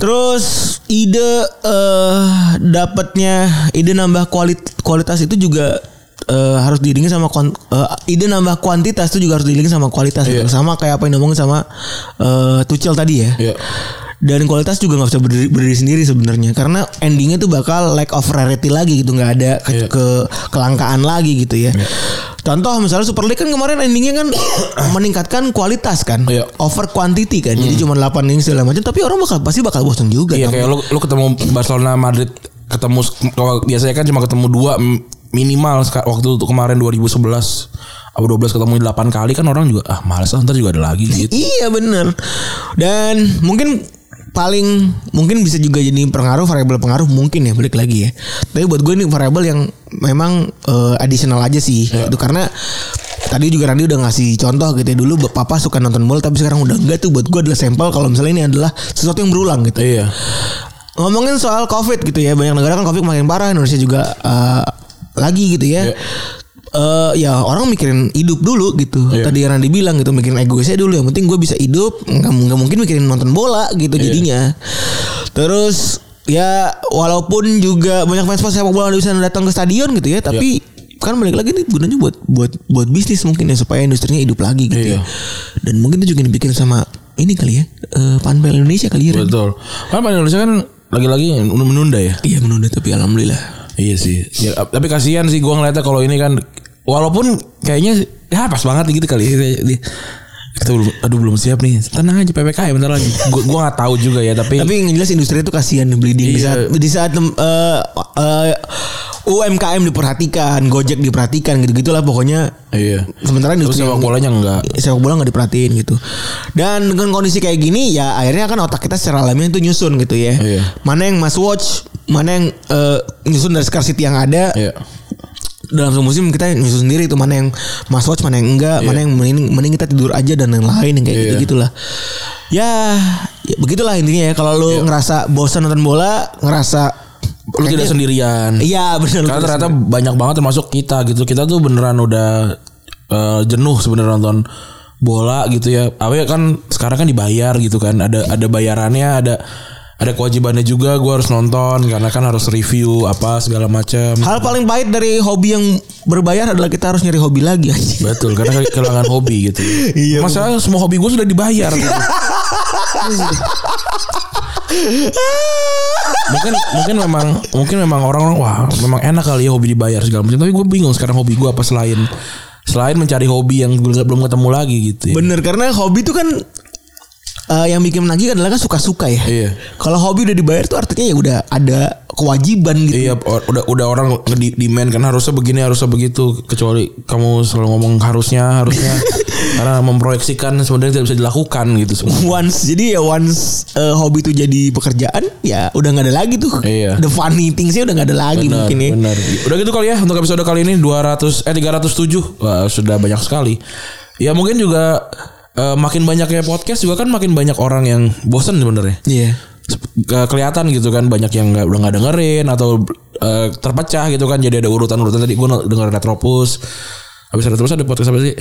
Speaker 4: Terus ide eh dapatnya ide nambah kualit- kualitas itu juga eh, harus diiringi sama kuan- eh, ide nambah kuantitas itu juga harus diiringi sama kualitas gitu.
Speaker 3: Iya.
Speaker 4: sama kayak apa yang ngomongin sama eh Tuchel tadi ya
Speaker 3: Iya.
Speaker 4: dan kualitas juga nggak bisa berdiri, berdiri sendiri sebenarnya karena endingnya tuh bakal lack of rarity lagi gitu nggak ada ke,
Speaker 3: Iya.
Speaker 4: ke- kelangkaan lagi gitu ya contoh misalnya Super League kan kemarin
Speaker 3: *coughs*
Speaker 4: endingnya kan meningkatkan kualitas kan
Speaker 3: Iya. Hmm.
Speaker 4: over quantity kan jadi cuma 8 ini segala macam tapi orang bakal pasti bakal bosan juga
Speaker 3: Iya
Speaker 4: kan.
Speaker 3: kayak lu, lu ketemu Barcelona Madrid Ketemu kalau Biasanya kan cuma ketemu dua m- Minimal seka- Waktu itu kemarin 2011 Atau 12 ketemu 8 kali kan orang juga Ah males lah ntar juga ada lagi gitu
Speaker 4: Iya bener Dan mungkin paling mungkin bisa juga jadi pengaruh variabel pengaruh mungkin ya balik lagi ya. Tapi buat gue ini variabel yang memang eh, additional aja sih. Itu karena tadi juga Randy udah ngasih contoh gitu ya dulu papa suka nonton bola tapi sekarang udah enggak tuh buat gue adalah sampel kalau misalnya ini adalah sesuatu yang berulang gitu.
Speaker 3: Iya
Speaker 4: Ngomongin soal COVID gitu ya, banyak negara kan COVID makin parah, Indonesia juga eh, lagi gitu ya.
Speaker 3: Iya.
Speaker 4: Eh eh ya orang mikirin hidup dulu gitu. Tadi yang Randy bilang gitu mikirin egoisnya dulu. Yang penting gue bisa hidup. Nggak, nggak mungkin mikirin nonton bola gitu jadinya. Terus ya walaupun juga banyak fans fans sepak bola nggak bisa datang ke stadion gitu ya. Tapi kan balik lagi nih gunanya buat buat buat bisnis mungkin ya supaya industrinya hidup lagi gitu. Ya.
Speaker 3: Iya.
Speaker 4: Dan mungkin itu juga dibikin sama ini kali ya eh, panpel Indonesia kali ya. Ren.
Speaker 3: Betul. Karena Pan Indonesia kan lagi-lagi menunda ya.
Speaker 4: Iya menunda tapi alhamdulillah.
Speaker 3: Iya sih. Ya, tapi kasihan sih gua ngeliatnya kalau ini kan walaupun kayaknya ya pas banget gitu kali. Di- Kita belum, aduh belum siap nih. Tenang aja PPKM bentar lagi. Gua gua nggak tahu juga ya tapi,
Speaker 4: Tapi yang jelas industri itu kasihan nih bleeding di
Speaker 3: Iya.
Speaker 4: saat di saat em, eh, eh, UMKM diperhatikan, Gojek diperhatikan gitu-gitulah pokoknya.
Speaker 3: iya.
Speaker 4: Sementara
Speaker 3: Terus
Speaker 4: industri
Speaker 3: sepak
Speaker 4: yang-
Speaker 3: bolanya enggak.
Speaker 4: sepak bola nggak diperhatiin gitu. Dan dengan kondisi kayak gini ya akhirnya kan otak kita secara alami itu nyusun gitu ya.
Speaker 3: Iya.
Speaker 4: Mana yang must watch, mana yang eh, nyusun dari scarcity yang ada.
Speaker 3: Iya.
Speaker 4: Dalam semusim kita nyusun sendiri itu mana yang must watch, mana yang enggak, mana yang mending, mending kita tidur aja dan yang lain yang kayak
Speaker 3: Iya.
Speaker 4: gitu-gitulah. Ya, ya begitulah intinya ya kalau lu
Speaker 3: Iya.
Speaker 4: ngerasa bosan nonton bola, ngerasa
Speaker 3: Lu tidak sendirian.
Speaker 4: Iya benar.
Speaker 3: Karena Kan ternyata banyak banget termasuk kita gitu. Kita tuh beneran udah eh, jenuh sebenarnya nonton bola gitu ya. Apa ya kan sekarang kan dibayar gitu kan. Ada ada bayarannya, ada ada kewajibannya juga gua harus nonton karena kan harus review apa segala macam.
Speaker 4: Hal paling pahit dari hobi yang berbayar adalah kita harus nyari hobi lagi
Speaker 3: *laughs*
Speaker 4: anjing.
Speaker 3: Betul, karena ke- kehilangan hobi gitu.
Speaker 4: Iya,
Speaker 3: Masalah semua hobi gue sudah dibayar gitu. Iya. mungkin mungkin memang mungkin memang orang-orang wah memang enak kali ya hobi dibayar segala macam tapi gue bingung sekarang hobi gue apa selain selain mencari hobi yang gue nggak- belum ketemu lagi gitu ya.
Speaker 4: Bener karena hobi itu kan eh, yang bikin menagih adalah kan suka-suka ya.
Speaker 3: Iya.
Speaker 4: Kalau hobi udah dibayar tuh artinya ya udah ada kewajiban gitu.
Speaker 3: Iya, or- udah udah orang di demand kan harusnya begini harusnya begitu kecuali kamu selalu ngomong harusnya
Speaker 4: *laughs*
Speaker 3: harusnya karena memproyeksikan sebenarnya tidak bisa dilakukan gitu semua.
Speaker 4: Once jadi ya once eh, hobi itu jadi pekerjaan ya udah nggak ada lagi tuh.
Speaker 3: Iya.
Speaker 4: The funny thing sih udah nggak ada lagi
Speaker 3: Benar,
Speaker 4: mungkin ya.
Speaker 3: benar. Udah gitu kali ya untuk episode kali ini 200 eh 307. Wah, sudah banyak sekali. Ya mungkin juga eh, makin banyaknya podcast juga kan makin banyak orang yang bosen sebenarnya.
Speaker 4: Iya.
Speaker 3: Sep- ke- kelihatan gitu kan banyak yang nggak udah nggak dengerin atau eh, terpecah gitu kan jadi ada urutan-urutan tadi gue dengerin Retropus habis Retropus ada podcast apa sih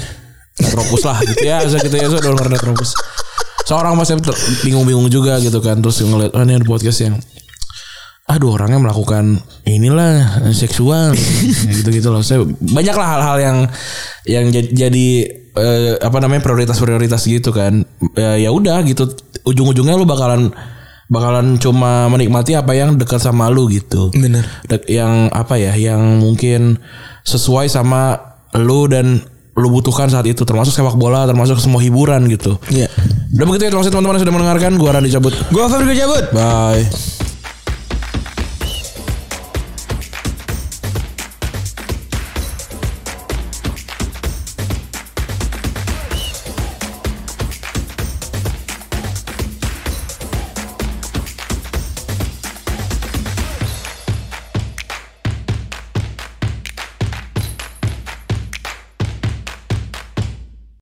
Speaker 3: Retropus lah gitu ya bisa gitu ya so, udah dengerin Retropus seorang masih ter- bingung-bingung juga gitu kan terus ngeliat oh, ini ada podcast yang aduh orangnya melakukan inilah eh, seksual gitu gitu loh saya banyaklah hal-hal yang yang jad- jadi eh, apa namanya prioritas-prioritas gitu kan Eh, ya udah gitu ujung-ujungnya lu bakalan bakalan cuma menikmati apa yang dekat sama lu gitu
Speaker 4: Bener.
Speaker 3: Dek- yang apa ya yang mungkin sesuai sama lu dan lu butuhkan saat itu termasuk sepak bola termasuk semua hiburan gitu
Speaker 4: Iya.
Speaker 3: udah begitu ya terima kasih teman-teman yang sudah mendengarkan gua Randy cabut
Speaker 4: Gue Febri cabut.
Speaker 3: bye